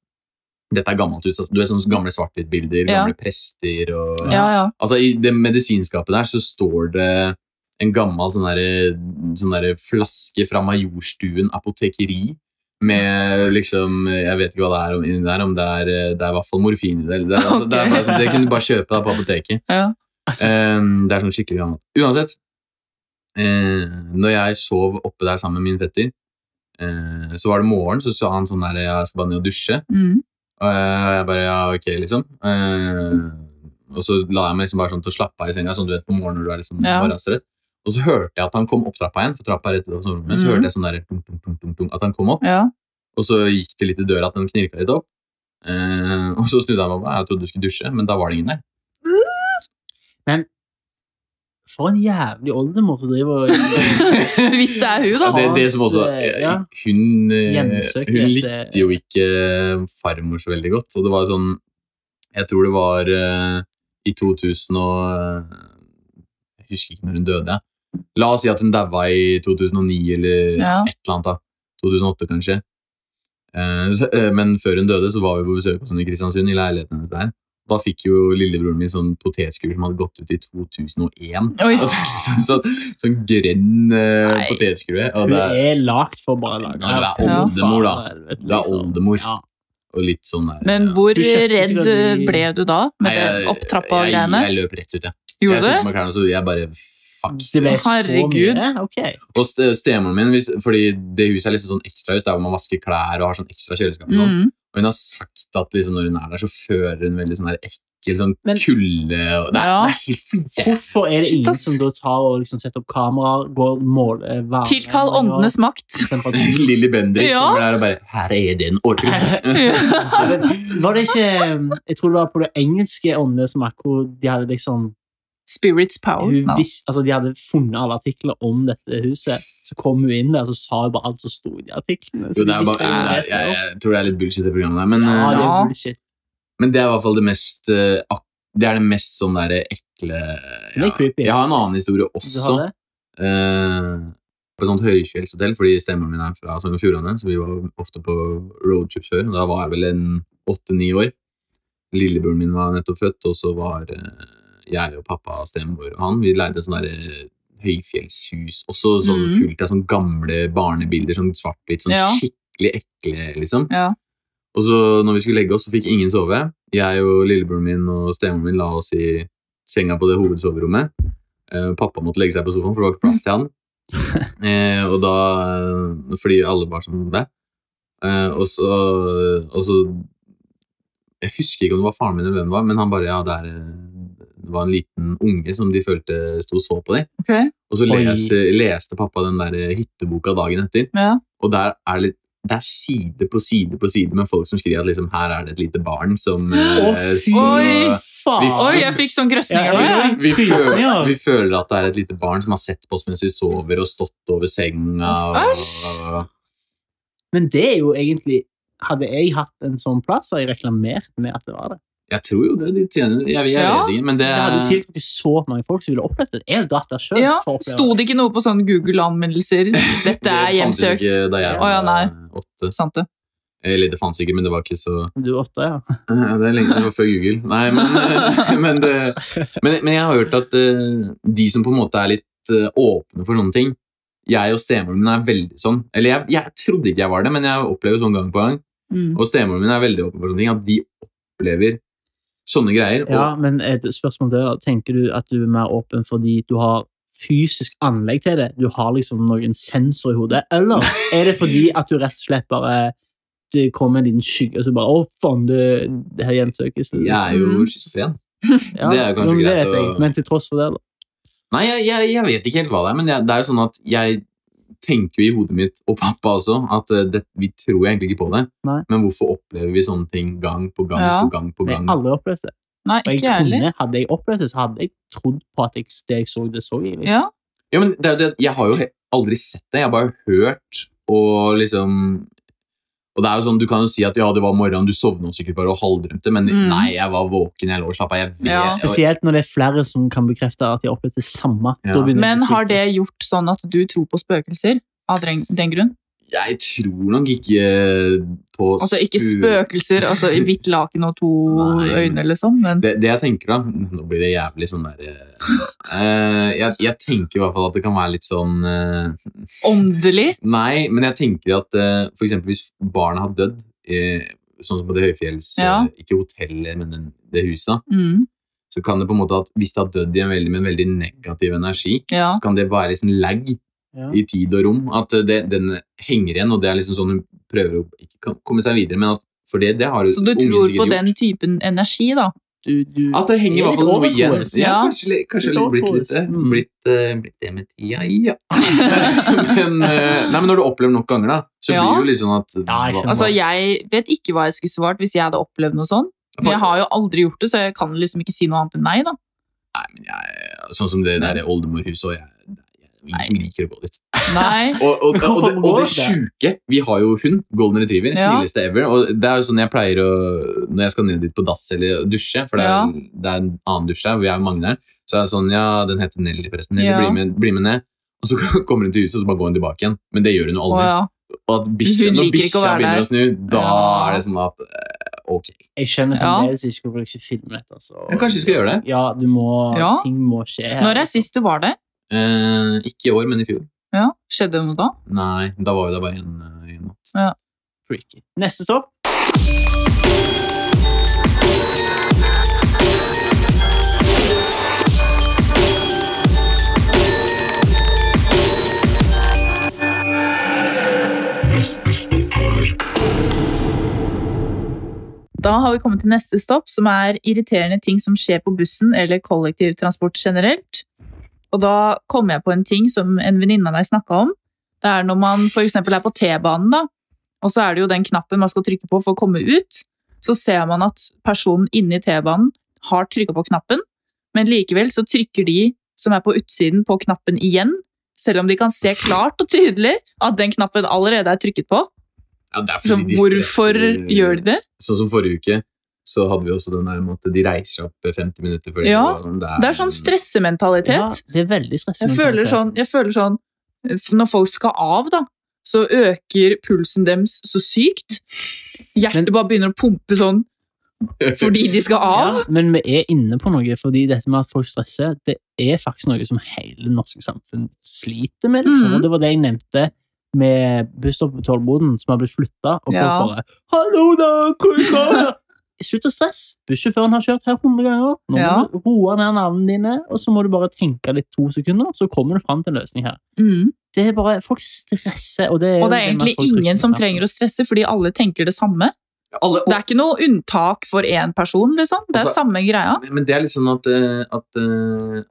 Speaker 1: Dette er gammelt hus. Altså, du er sånne gamle svart-hvitt-bilder,
Speaker 3: Ja.
Speaker 1: gamle prester og
Speaker 3: Ja, ja.
Speaker 1: Altså, I det medisinskapet der så står det en gammel sånn derre sånn derre flaske fra Majorstuen apotekeri med liksom Jeg vet ikke hva det er om- inni der, om det er eh, Det er i hvert fall morfin i det. eller Det, er- altså, det, er bare, sånn- det kunne du bare kjøpe da på apoteket.
Speaker 3: Ja.
Speaker 1: Ehm, det er sånn skikkelig gammelt. Uansett, eh, når jeg sov oppe der sammen med min fetter, eh, så var det morgen, så sa han sånn der Jeg skal bare ned og dusje.
Speaker 3: Mm.
Speaker 1: Og jeg jeg bare, ja, ok, liksom. Eh, og så la jeg meg liksom bare sånn til å slappe av i senga, sånn du vet på morgenen når du er liksom
Speaker 3: Ja.
Speaker 1: morgenstrett. Og så hørte jeg at han kom opp trappa igjen, for trappa er rett utenfor soverommet. Så
Speaker 3: Mhm.
Speaker 1: hørte jeg sånn der, tung, tung, tung, tung, tung, at han kom opp,
Speaker 3: ja.
Speaker 1: og så gikk det litt i døra at den knirka litt opp. Eh, og så snudde jeg meg og ba, jeg trodde du skulle dusje, men da var det ingen der.
Speaker 2: For en jævlig oldemor som driver og
Speaker 3: Hvis det er hun,
Speaker 1: Ja,
Speaker 3: da.
Speaker 1: det, det som også,
Speaker 2: eh, Ja.
Speaker 1: hun, eh,
Speaker 2: Hjemsøkt
Speaker 1: hun
Speaker 2: etter-
Speaker 1: likte jo ikke farmor så veldig godt. Og det var sånn Jeg tror det var eh, i 2000 og eh, Jeg husker ikke når hun døde. La oss si at hun daua i 2009 eller
Speaker 3: Ja.
Speaker 1: et eller annet. da. 2008, kanskje. Eh, så, eh, men før hun døde, så var vi på besøk hos henne i Kristiansund. i leiligheten hennes der. Da fikk jo lillebroren min sånn potetskuler som hadde gått ut i 2001.
Speaker 3: Oi.
Speaker 1: Og det er liksom sånn, sånn grønn uh,
Speaker 3: Nei.
Speaker 1: potetskue. og
Speaker 2: Hun
Speaker 1: det er-
Speaker 2: er lagd for bare å lage
Speaker 1: Ja, det er
Speaker 2: Ja.
Speaker 1: oldemor, da.
Speaker 2: Helvete,
Speaker 1: Det er
Speaker 2: liksom.
Speaker 1: oldemor.
Speaker 2: Ja.
Speaker 1: Og litt sånn der,
Speaker 3: Men
Speaker 1: ja.
Speaker 3: hvor
Speaker 2: Hun kjøpte
Speaker 3: redd
Speaker 2: sikkert de-
Speaker 3: ble du da med
Speaker 1: Nei, jeg-
Speaker 3: det opptrappa
Speaker 1: jeg-
Speaker 3: greiene?
Speaker 1: Jeg løp rett ut, jeg. Jeg
Speaker 3: Gjorde
Speaker 1: tok
Speaker 3: du?
Speaker 1: på meg klærne, så jeg bare fuck.
Speaker 2: Det ble
Speaker 3: Herregud.
Speaker 2: så mye. Ok.
Speaker 1: Og ste- stemoren min, hvis, fordi det huset er liksom sånn ekstra ut, der hvor man vasker klær og har sånn ekstra kjøleskap. og sånn.
Speaker 3: Mm.
Speaker 1: Og hun har sagt at liksom, når hun er der, så fører hun veldig sånn der ekkel sånn
Speaker 2: Men-
Speaker 1: kulde og det, er-
Speaker 3: Ja.
Speaker 1: det er helt for jævlig.
Speaker 2: Hvorfor er det
Speaker 3: Shit,
Speaker 2: ingen
Speaker 3: ass.
Speaker 2: som da tar og liksom setter opp kameraer, går og måler eh, varme
Speaker 3: Tilkall åndenes makt.
Speaker 1: Lilly Bendriss
Speaker 3: Ja.
Speaker 1: kommer der og bare Her er det en ordre!
Speaker 3: Ja.
Speaker 2: Var det ikke eh, Jeg tror det var på det engelske åndenes makt hvor de hadde liksom
Speaker 3: Spirits power.
Speaker 2: hun
Speaker 3: Ja.
Speaker 2: vis, altså De hadde funnet alle artikler om dette huset. Så kom hun inn der og sa hun bare alt som sto i de artiklene.
Speaker 1: Jo,
Speaker 2: Så
Speaker 1: det er bare,
Speaker 2: de visste jo
Speaker 1: jeg,
Speaker 2: det,
Speaker 1: jeg,
Speaker 2: så-
Speaker 1: jeg, tror det er litt bullshit, det programmet der. Men,
Speaker 2: ja,
Speaker 1: eh,
Speaker 2: det
Speaker 3: Ja.
Speaker 2: er bullshit.
Speaker 1: men det er i hvert fall det mest eh, ak- Det er det mest sånn der ekle
Speaker 2: Det er creepy.
Speaker 1: Jeg har en annen historie
Speaker 2: Du har
Speaker 1: også.
Speaker 2: det?
Speaker 1: eh, på et sånt høyfjellshotell, fordi stemmoren min er fra Sogn og Fjordane. Så vi var ofte på roadtrip før. og Da var jeg vel en åtte-ni år. Lillebroren min var nettopp født, og så var eh, jeg og pappa, stemor og han Vi leide sånn derre høyfjellshus. Også sånn
Speaker 2: Mm.
Speaker 3: Mhm.
Speaker 1: fullt av sånne gamle barnebilder, sånn svart-hvitt, sånn
Speaker 3: Ja.
Speaker 1: skikkelig ekle, liksom.
Speaker 3: Ja.
Speaker 1: Og så når vi skulle legge oss, så fikk ingen sove. Jeg og lillebroren min og stemoren min la oss i senga på det hovedsoverommet. Eh, pappa måtte legge seg på sofaen, for det var ikke plass til han. Eh, og da, eh, fordi alle var som det. Eh, og, så, og så Jeg husker ikke om det var faren min eller hvem det var, men han bare Ja, det, er, eh, det var en liten unge som de følte sto og så på dem.
Speaker 3: Ok.
Speaker 1: Og så
Speaker 2: Oi.
Speaker 1: les, eh, leste pappa den der eh, hytteboka dagen etter.
Speaker 3: Ja.
Speaker 1: Og der er det, det er side på side på side med folk som skriver at liksom, her er det et lite barn som eh,
Speaker 2: Å, fy
Speaker 1: står
Speaker 3: Oi.
Speaker 1: og-
Speaker 2: faen!
Speaker 1: vi-
Speaker 3: Oi, jeg fikk sånn grøsninger nå, jeg.
Speaker 1: vi, føler,
Speaker 2: Frysninger.
Speaker 1: vi føler at det er et lite barn som har sett på oss mens vi sover og stått over senga.
Speaker 3: Æsj.
Speaker 1: Og,
Speaker 2: Men det er jo egentlig Hadde jeg hatt en sånn plass, hadde jeg reklamert med at det var det.
Speaker 1: jeg tror jo det. De tjener Jeg, jeg
Speaker 3: Ja.
Speaker 1: vet ikke, men det
Speaker 2: Det hadde tiltrukket så mange folk som ville opplevd det. Jeg hadde dratt der sjøl.
Speaker 3: Ja, Sto det ikke noe på sånn Google-anmeldelser? Dette er
Speaker 1: fantes
Speaker 3: hjemsøkt.
Speaker 1: ikke da jeg
Speaker 3: Å, ja,
Speaker 1: var
Speaker 3: nei.
Speaker 1: åtte.
Speaker 3: Sant det.
Speaker 1: Eller det fantes ikke, men det var ikke så
Speaker 2: Du er åtte, ja.
Speaker 1: Ja, Det er lenge det var før Google. Nei, men, eh, men, det, men, men jeg har hørt at eh, de som på en måte er litt eh, åpne for sånne ting Jeg og stemoren min er veldig sånn. Eller jeg, jeg trodde ikke jeg var det, men jeg opplever sånn gang på gang.
Speaker 3: Mm.
Speaker 1: Og stemoren min er veldig åpen for sånne ting. At de opplever sånne greier.
Speaker 2: ja men et spørsmål der, tenker du at du er mer åpen fordi du har fysisk anlegg til det? Du har liksom noen sensor i hodet? Eller er det fordi at du rett og slett bare det kommer en liten skygge, og så bare Å, faen, det, det her gjensøkes.
Speaker 1: Og jeg er jo
Speaker 3: Mm.
Speaker 1: schizofren.
Speaker 2: Ja,
Speaker 1: det er jo kanskje
Speaker 2: men det
Speaker 1: greit
Speaker 2: vet jeg.
Speaker 1: å-
Speaker 2: Men til tross for det, da.
Speaker 1: Nei, jeg, jeg, jeg vet ikke helt hva det er, men jeg, det er jo sånn at jeg tenker jo i hodet mitt, og pappa også, at eh, det, vi tror egentlig ikke på det.
Speaker 2: Nei.
Speaker 1: Men hvorfor opplever vi sånne ting gang på gang
Speaker 3: Ja.
Speaker 1: på gang på
Speaker 2: Men jeg
Speaker 1: gang?
Speaker 2: har aldri opplevd det.
Speaker 3: Nei,
Speaker 2: Og jeg
Speaker 3: ikke jeg heller.
Speaker 2: kunne, hadde jeg opplevd det, så hadde jeg trodd på at jeg, det jeg så, det så jeg. Liksom.
Speaker 3: Ja.
Speaker 1: Ja, men det, er jo det, jeg har jo he- aldri sett det, jeg har bare hørt og liksom Og det er jo sånn, Du kan jo si at ja, det var morgenen, du sovna sikkert bare og halvdrømte, men
Speaker 3: Mm.
Speaker 1: nei, jeg var våken, jeg lå og slappa av. Jeg vet
Speaker 3: Ja.
Speaker 1: jeg,
Speaker 2: Spesielt når det er flere som kan bekrefte at de har opplevd det samme.
Speaker 1: Ja.
Speaker 2: Da begynner jeg å bli
Speaker 3: Men har
Speaker 2: fryktelig.
Speaker 3: det gjort sånn at du tror på spøkelser av den, den grunn?
Speaker 1: jeg tror nok ikke eh, på
Speaker 3: Altså ikke
Speaker 1: spu-
Speaker 3: spøkelser, altså i hvitt laken og to
Speaker 1: Nei.
Speaker 3: øyne, liksom, men
Speaker 1: det, det jeg tenker, da Nå blir det jævlig sånn der eh, eh, jeg, jeg tenker i hvert fall at det kan være litt sånn eh,
Speaker 3: åndelig?
Speaker 1: Nei, men jeg tenker at eh, for eksempel hvis barna har dødd, eh, sånn som på det høyfjells...
Speaker 3: Ja.
Speaker 1: eh, ikke hotellet, men den, det huset, da.
Speaker 3: Mm,
Speaker 1: så kan det på en måte at hvis det har dødd i en veldig, med en veldig negativ energi,
Speaker 3: ja.
Speaker 1: så kan det være liksom lag
Speaker 2: Ja.
Speaker 1: i tid og rom. At eh, det, den henger igjen, og det er liksom sånn hun prøver å ikke kan- komme seg videre. Men at, for det, det har
Speaker 3: Så du
Speaker 1: ungen
Speaker 3: tror på
Speaker 1: sikkert
Speaker 3: den typen energi, da?
Speaker 2: Du, du,
Speaker 1: At det henger i hvert fall noe igjen.
Speaker 2: Overtroisk.
Speaker 1: Ja,
Speaker 3: Ja.
Speaker 1: kanskje litt- kanskje
Speaker 2: Litt
Speaker 1: litt blitt litt
Speaker 2: overtroisk.
Speaker 1: eh,
Speaker 2: Mm.
Speaker 1: blitt, eh, blitt det med tida, ja. men, eh, nei, men når du opplever nok ganger, da, så
Speaker 3: Ja.
Speaker 1: blir det jo liksom at
Speaker 2: Ja, jeg skjønner.
Speaker 3: Altså, Jeg vet ikke hva jeg skulle svart hvis jeg hadde Altså, opplevd noe sånn. Men jeg har jo aldri gjort det, så jeg kan liksom ikke si noe annet enn nei. da.
Speaker 1: Nei, men jeg, sånn som det der oldemorhuset og jeg, det er ingen som liker å gå dit.
Speaker 3: Nei.
Speaker 1: Og, og, og, og, det- og det sjuke Vi har jo hund, golden retriever,
Speaker 3: Ja.
Speaker 1: snilleste ever. Og det er jo sånn jeg pleier å Når jeg skal ned dit på dass eller dusje, for det er,
Speaker 3: Ja.
Speaker 1: det er en annen dusj der, vi er jo mange der, så er det sånn Ja, den heter Nelly, forresten. Nelly,
Speaker 3: Ja.
Speaker 1: bli, med, bli med ned. Og så kommer hun til huset, og så bare går hun tilbake igjen. Men det gjør hun jo
Speaker 3: Å
Speaker 1: aldri.
Speaker 3: ja.
Speaker 1: Og at bikkja,
Speaker 3: Hun
Speaker 1: når
Speaker 3: liker ikke å
Speaker 1: bikkja
Speaker 3: være
Speaker 1: begynner
Speaker 3: der.
Speaker 1: å snu, da
Speaker 3: Ja.
Speaker 1: er det sånn at eh, Ok.
Speaker 2: Jeg skjønner
Speaker 3: Ja.
Speaker 2: fremdeles ikke hvorfor jeg ikke filmer dette. Altså.
Speaker 1: Ja, kanskje vi skal gjøre det?
Speaker 2: Ja, du må,
Speaker 3: Ja.
Speaker 2: ting må skje. her,
Speaker 3: Når er
Speaker 2: altså.
Speaker 3: sist du var der?
Speaker 1: Eh, ikke i år, men i fjor.
Speaker 3: Ja. Skjedde det noe da?
Speaker 1: Nei, da var vi der bare en, eh, en natt.
Speaker 2: Freaky. Neste stopp.
Speaker 3: Da har vi kommet til neste stopp, som er irriterende ting som skjer på bussen eller kollektivtransport generelt. Og da kom jeg på en ting som en venninne av meg snakka om. Det er når man f.eks. er på T-banen, da, og så er det jo den knappen man skal trykke på for å komme ut. Så ser man at personen inni T-banen har trykka på knappen, men likevel så trykker de som er på utsiden, på knappen igjen. Selv om de kan se klart og tydelig at den knappen allerede er trykket på.
Speaker 1: Ja, det er
Speaker 3: Så
Speaker 1: fordi de
Speaker 3: hvorfor
Speaker 1: stresser-
Speaker 3: gjør de det?
Speaker 1: Sånn som forrige uke, så hadde vi også den der med at de reiser seg opp 50 minutter. Fordi
Speaker 3: Ja,
Speaker 1: det, var-
Speaker 3: Det er sånn
Speaker 2: Ja,
Speaker 3: stressementalitet.
Speaker 2: det er veldig stressende.
Speaker 3: Jeg føler sånn, jeg føler sånn f- Når folk skal av, da, så øker pulsen deres så sykt. Hjertet bare begynner å pumpe sånn fordi de skal av.
Speaker 2: Ja, men vi er inne på noe, fordi dette med at folk stresser, det er faktisk noe som hele det norske samfunn sliter med. Liksom.
Speaker 3: Mhm.
Speaker 2: Og det var det jeg nevnte med busstoppet på Tollboden, som har blitt flytta, og folk
Speaker 3: Ja.
Speaker 2: bare 'Hallo, da! Hvor går det?' Slutt å stresse. Bussjåføren har kjørt her 100 ganger. Nå må
Speaker 3: Ja.
Speaker 2: du roe ned navnene dine, og så må du bare tenke litt to sekunder, så kommer du fram til en løsning her.
Speaker 3: Mm.
Speaker 2: Det er bare, Folk stresser, og det er
Speaker 3: Og det er egentlig ingen som trenger å stresse, fordi alle tenker det samme.
Speaker 1: Alle,
Speaker 3: Det er ikke noe unntak for én person, liksom. Det er
Speaker 1: Altså-
Speaker 3: samme greia.
Speaker 1: Men- Men det er litt sånn at, eh, at eh,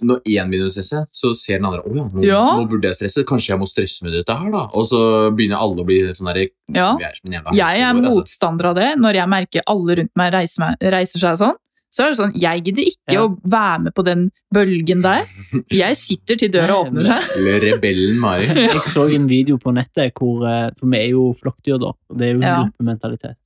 Speaker 1: når én begynner å stresse, så ser den andre Å ja, nå,
Speaker 3: Ja.
Speaker 1: nå burde jeg stresse. Kanskje jeg må stresse med dette her, da. Og så begynner alle å bli sånn derre
Speaker 3: Ja.
Speaker 1: Vi er som en jævla
Speaker 3: Jeg er
Speaker 1: helsegård, altså.
Speaker 3: motstander av det. Når jeg merker alle rundt meg reiser, meg, reiser seg og sånn, så er det sånn Jeg gidder ikke
Speaker 2: Ja.
Speaker 3: å være med på den bølgen der. Jeg sitter til døra
Speaker 2: Nei,
Speaker 3: åpner seg.
Speaker 1: Eller Rebellen Mari.
Speaker 2: Jeg så en video på nettet hvor eh, For vi er jo flokkdyr, da. Og det er jo en
Speaker 3: Ja.
Speaker 2: gruppementalitet.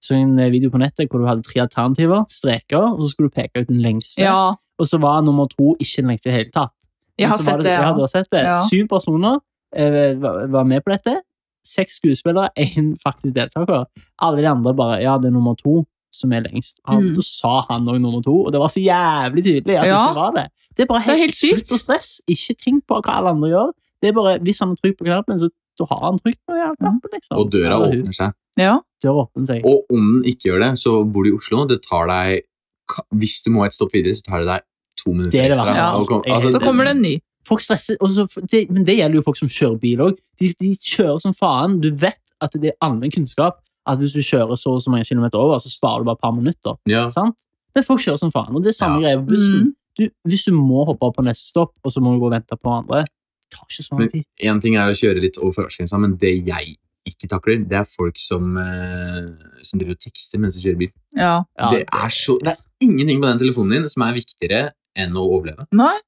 Speaker 2: Så en eh, video på nettet hvor du hadde tre alternativer, streker, og så skulle du peke ut den lengste.
Speaker 3: Ja,
Speaker 2: Og så var nummer to ikke den lengste i det hele tatt.
Speaker 3: jeg
Speaker 2: Men
Speaker 3: har
Speaker 2: så
Speaker 3: sett
Speaker 2: var
Speaker 3: det.
Speaker 2: Ja,
Speaker 3: Ja.
Speaker 2: du har sett det.
Speaker 3: Ja.
Speaker 2: Syv personer eh, var var med på dette. Seks skuespillere, én faktisk deltaker. Alle de andre bare Ja, det er nummer to som er lengst. Han,
Speaker 3: Mm.
Speaker 2: Så sa han òg nummer to, og det var så jævlig tydelig at det
Speaker 3: Ja.
Speaker 2: ikke var det. Det er bare
Speaker 3: er
Speaker 2: helt,
Speaker 3: helt sykt.
Speaker 2: Slutt å stresse. Ikke tenk på hva alle andre gjør. Det er bare, Hvis han har trykt på knappen, så så har han trykt på jævla
Speaker 3: Mm.
Speaker 2: knappen. liksom.
Speaker 1: Og døra
Speaker 2: Eller hun.
Speaker 1: åpner seg.
Speaker 3: Ja.
Speaker 2: Døra åpner seg.
Speaker 1: Og om den ikke gjør det, så bor du i Oslo. Det tar deg ka- Hvis du må et stopp videre, så tar det deg to minutter
Speaker 2: Det er det
Speaker 1: ekstra. altså,
Speaker 2: verste.
Speaker 3: Ja.
Speaker 1: Og kom-
Speaker 2: Altså,
Speaker 3: Så kommer det en ny.
Speaker 2: Folk stresser, og så, det, men det gjelder jo folk som kjører bil òg. De, de kjører som faen. Du vet at det er allmenn kunnskap at hvis du kjører så og så mange kilometer over, så sparer du bare et par minutter.
Speaker 1: ja.
Speaker 2: Sant? Men folk kjører som faen, og det er samme
Speaker 1: Ja.
Speaker 2: greie på bussen.
Speaker 3: Mm.
Speaker 2: Du, hvis du må hoppe av på neste stopp, og så må du gå og vente på andre, det tar ikke så
Speaker 1: Men-
Speaker 2: lang tid.
Speaker 1: En ting er å kjøre litt over fartsgrensa, men det jeg ikke takler, det er folk som, eh, som driver og tekster mens de kjører bil.
Speaker 3: Ja.
Speaker 2: Ja,
Speaker 1: det, er så, det er ingenting på den telefonen din som er viktigere enn å overleve.
Speaker 3: Nei.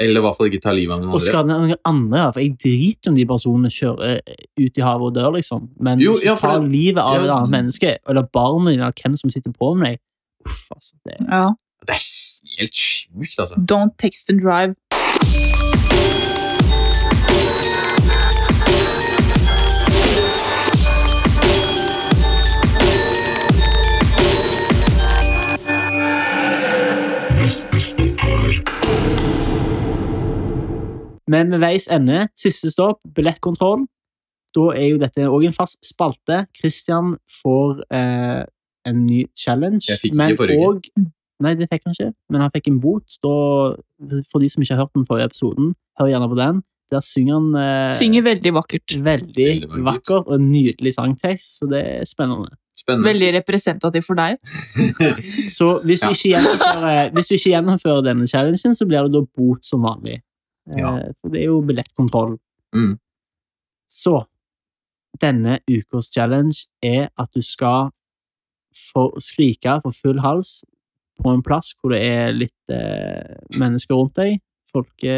Speaker 1: Eller i hvert fall ikke ta livet av noen
Speaker 2: og
Speaker 1: andre.
Speaker 2: skade noen andre, for jeg driter om de personene kjører eh, ut i havet og dør, liksom. Men
Speaker 1: Jo,
Speaker 2: hvis du
Speaker 1: ja, for
Speaker 2: tar
Speaker 1: det-
Speaker 2: livet av et
Speaker 1: ja.
Speaker 2: annet menneske, eller barnet ditt, eller hvem som sitter på med deg Uff, altså. Det er
Speaker 3: ja.
Speaker 1: Det er helt sjukt, altså.
Speaker 3: Don't text and drive.
Speaker 2: Men ved veis ende, siste stopp, billettkontroll. Da er jo dette òg en fast spalte. Christian får eh, en ny challenge.
Speaker 1: Jeg fikk ikke
Speaker 2: men
Speaker 1: forrige uke.
Speaker 2: og- Nei, det fikk han ikke, men han fikk en bot. Da, for de som ikke har hørt den forrige episoden, hør gjerne på den. Der synger han eh,
Speaker 3: Synger veldig vakkert.
Speaker 2: veldig
Speaker 1: Veldig vakkert.
Speaker 2: vakkert og en nydelig sangtekst, så det er spennende.
Speaker 1: Spennende.
Speaker 3: Veldig representativ for deg.
Speaker 2: Så hvis du
Speaker 1: Ja.
Speaker 2: ikke gjennomfører, eh, hvis du ikke gjennomfører denne challengen, så blir det da bot som vanlig. Eh,
Speaker 1: Ja.
Speaker 2: For det er jo billettkontroll.
Speaker 1: Mm.
Speaker 2: Så denne ukas challenge er at du skal få skrike for full hals på en plass hvor det er litt eh, mennesker rundt deg. Folke,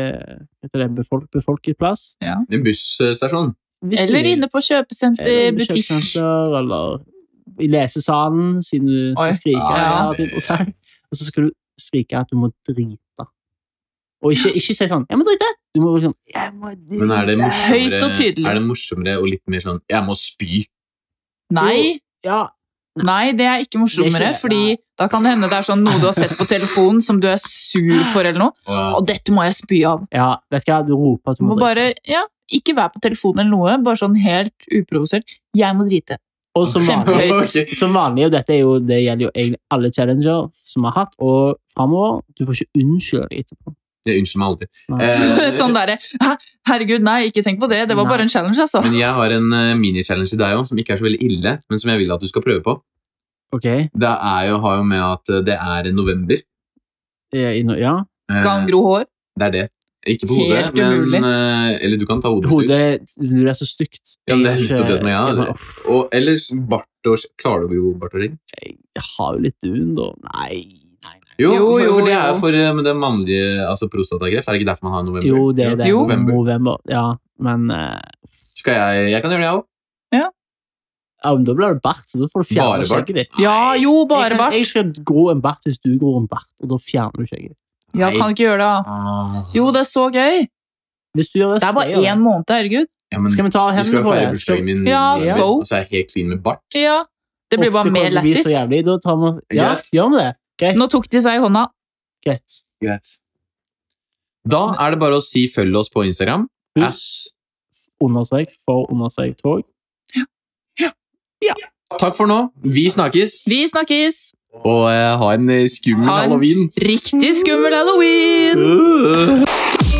Speaker 2: heter det befolk, befolket plass.
Speaker 1: En busstasjon.
Speaker 2: Hvis du
Speaker 3: Eller
Speaker 2: vil.
Speaker 3: inne på
Speaker 2: Eller på
Speaker 3: kjøpesenterbutikk.
Speaker 2: kjøpesenter, eller i lesesalen, siden du skal
Speaker 3: Oi.
Speaker 2: skrike.
Speaker 1: Ja,
Speaker 2: Ja,
Speaker 1: ja.
Speaker 2: det er interessant. Og så skal du skrike at du må drite. Og ikke, ikke si sånn 'jeg må drite'. Du må være sånn 'jeg må drite'.
Speaker 1: Men er det morsommere,
Speaker 3: Høyt og tydelig.
Speaker 1: Er det morsommere og litt mer sånn 'jeg må spy'?
Speaker 3: Nei,
Speaker 2: Ja,
Speaker 3: nei, det er ikke
Speaker 2: Det er
Speaker 3: morsommere,
Speaker 2: ikke-
Speaker 3: fordi da kan det hende det er sånn noe du har sett på telefonen som du er sur for eller noe,
Speaker 1: Og
Speaker 3: og dette må jeg spy av.
Speaker 2: ja, vet du hva, du roper at
Speaker 3: Du
Speaker 2: du må
Speaker 3: må
Speaker 2: drite.
Speaker 3: bare, ja, ikke være på telefonen eller noe, bare sånn helt uprovosert. Jeg må drite.
Speaker 2: Og som vanlig,
Speaker 3: Kjempehøyt.
Speaker 1: Ok.
Speaker 2: som vanlig og dette er jo, det gjelder jo egentlig alle challenger som vi har hatt, og framover Du får ikke unnskylde deg etterpå.
Speaker 1: Jeg unnskylder meg aldri.
Speaker 2: Nei.
Speaker 1: Eh,
Speaker 3: Sånn derre «Hæ? Herregud, nei, ikke tenk på det. Det var
Speaker 2: Nei.
Speaker 3: bare en challenge, altså.
Speaker 1: Men jeg har en eh, mini-challenge til deg òg, som ikke er så veldig ille, men som jeg vil at du skal prøve på.
Speaker 2: Ok,
Speaker 1: Det er jo, har jo med at eh, det er november.
Speaker 2: eh, inn og- ja.
Speaker 1: Eh,
Speaker 3: Skal han gro hår?
Speaker 1: Det er det. Ikke på hodet,
Speaker 3: Helt
Speaker 1: men
Speaker 3: umulig.
Speaker 1: eh, Eller du kan ta hodet. hvis du-
Speaker 2: Hodet du er så stygt.
Speaker 1: Ja, men det er
Speaker 2: Jeg
Speaker 1: nettopp det som er, ja.
Speaker 2: jeg må- uff.
Speaker 1: Og ellers bart og Klarer du å gro bart og skjegg?
Speaker 2: jeg har jo litt dun, da. Nei, nei, nei.
Speaker 1: Jo,
Speaker 3: Jo,
Speaker 1: for,
Speaker 3: jo,
Speaker 1: for det er
Speaker 3: jo.
Speaker 1: for eh, med det mannlige altså prostatakreft. Er det ikke derfor man har november?
Speaker 2: Jo, det er det.
Speaker 3: Jo.
Speaker 1: November.
Speaker 2: November. Ja, men eh,
Speaker 1: Skal jeg Jeg kan gjøre det, jeg òg.
Speaker 2: ja, men da blir det bart, så da får du
Speaker 1: Bare
Speaker 2: fjerne
Speaker 1: bart?
Speaker 2: skjegget ditt.
Speaker 3: Ja, jo,
Speaker 2: jeg,
Speaker 3: bare
Speaker 2: kan-
Speaker 3: bart.
Speaker 2: jeg skal gro en bart hvis du gror en bart, og da fjerner du skjegget. ditt.
Speaker 3: Ja, kan ikke gjøre det. da.
Speaker 2: Ah.
Speaker 3: Jo, det er så gøy.
Speaker 2: Hvis du gjør det,
Speaker 3: Det
Speaker 2: så
Speaker 3: er bare
Speaker 2: gjør jeg
Speaker 3: én måned, herregud.
Speaker 1: Ja, men,
Speaker 2: det. Skal vi ta
Speaker 1: vi skal
Speaker 2: hendene
Speaker 1: jo
Speaker 2: på
Speaker 1: feire
Speaker 2: det?
Speaker 1: bursdagen min,
Speaker 3: Ja,
Speaker 1: november,
Speaker 3: so.
Speaker 1: og så er jeg helt clean med bart.
Speaker 3: Ja, det blir bare mer
Speaker 2: lættis.
Speaker 3: lættis.
Speaker 2: Da tar vi Ja,
Speaker 1: Greit.
Speaker 2: gjør vi det?
Speaker 3: Nå tok de seg i hånda.
Speaker 2: Greit.
Speaker 1: Greit. Da er det bare å si følg oss på Instagram.
Speaker 2: Husk, understrek, for, understrek, tog.
Speaker 1: Takk for nå. Vi snakkes,
Speaker 3: Vi snakkes!
Speaker 1: og eh, ha en eh, skummel
Speaker 3: Ha en-
Speaker 1: halloween.
Speaker 3: Riktig skummel halloween!
Speaker 1: Øh.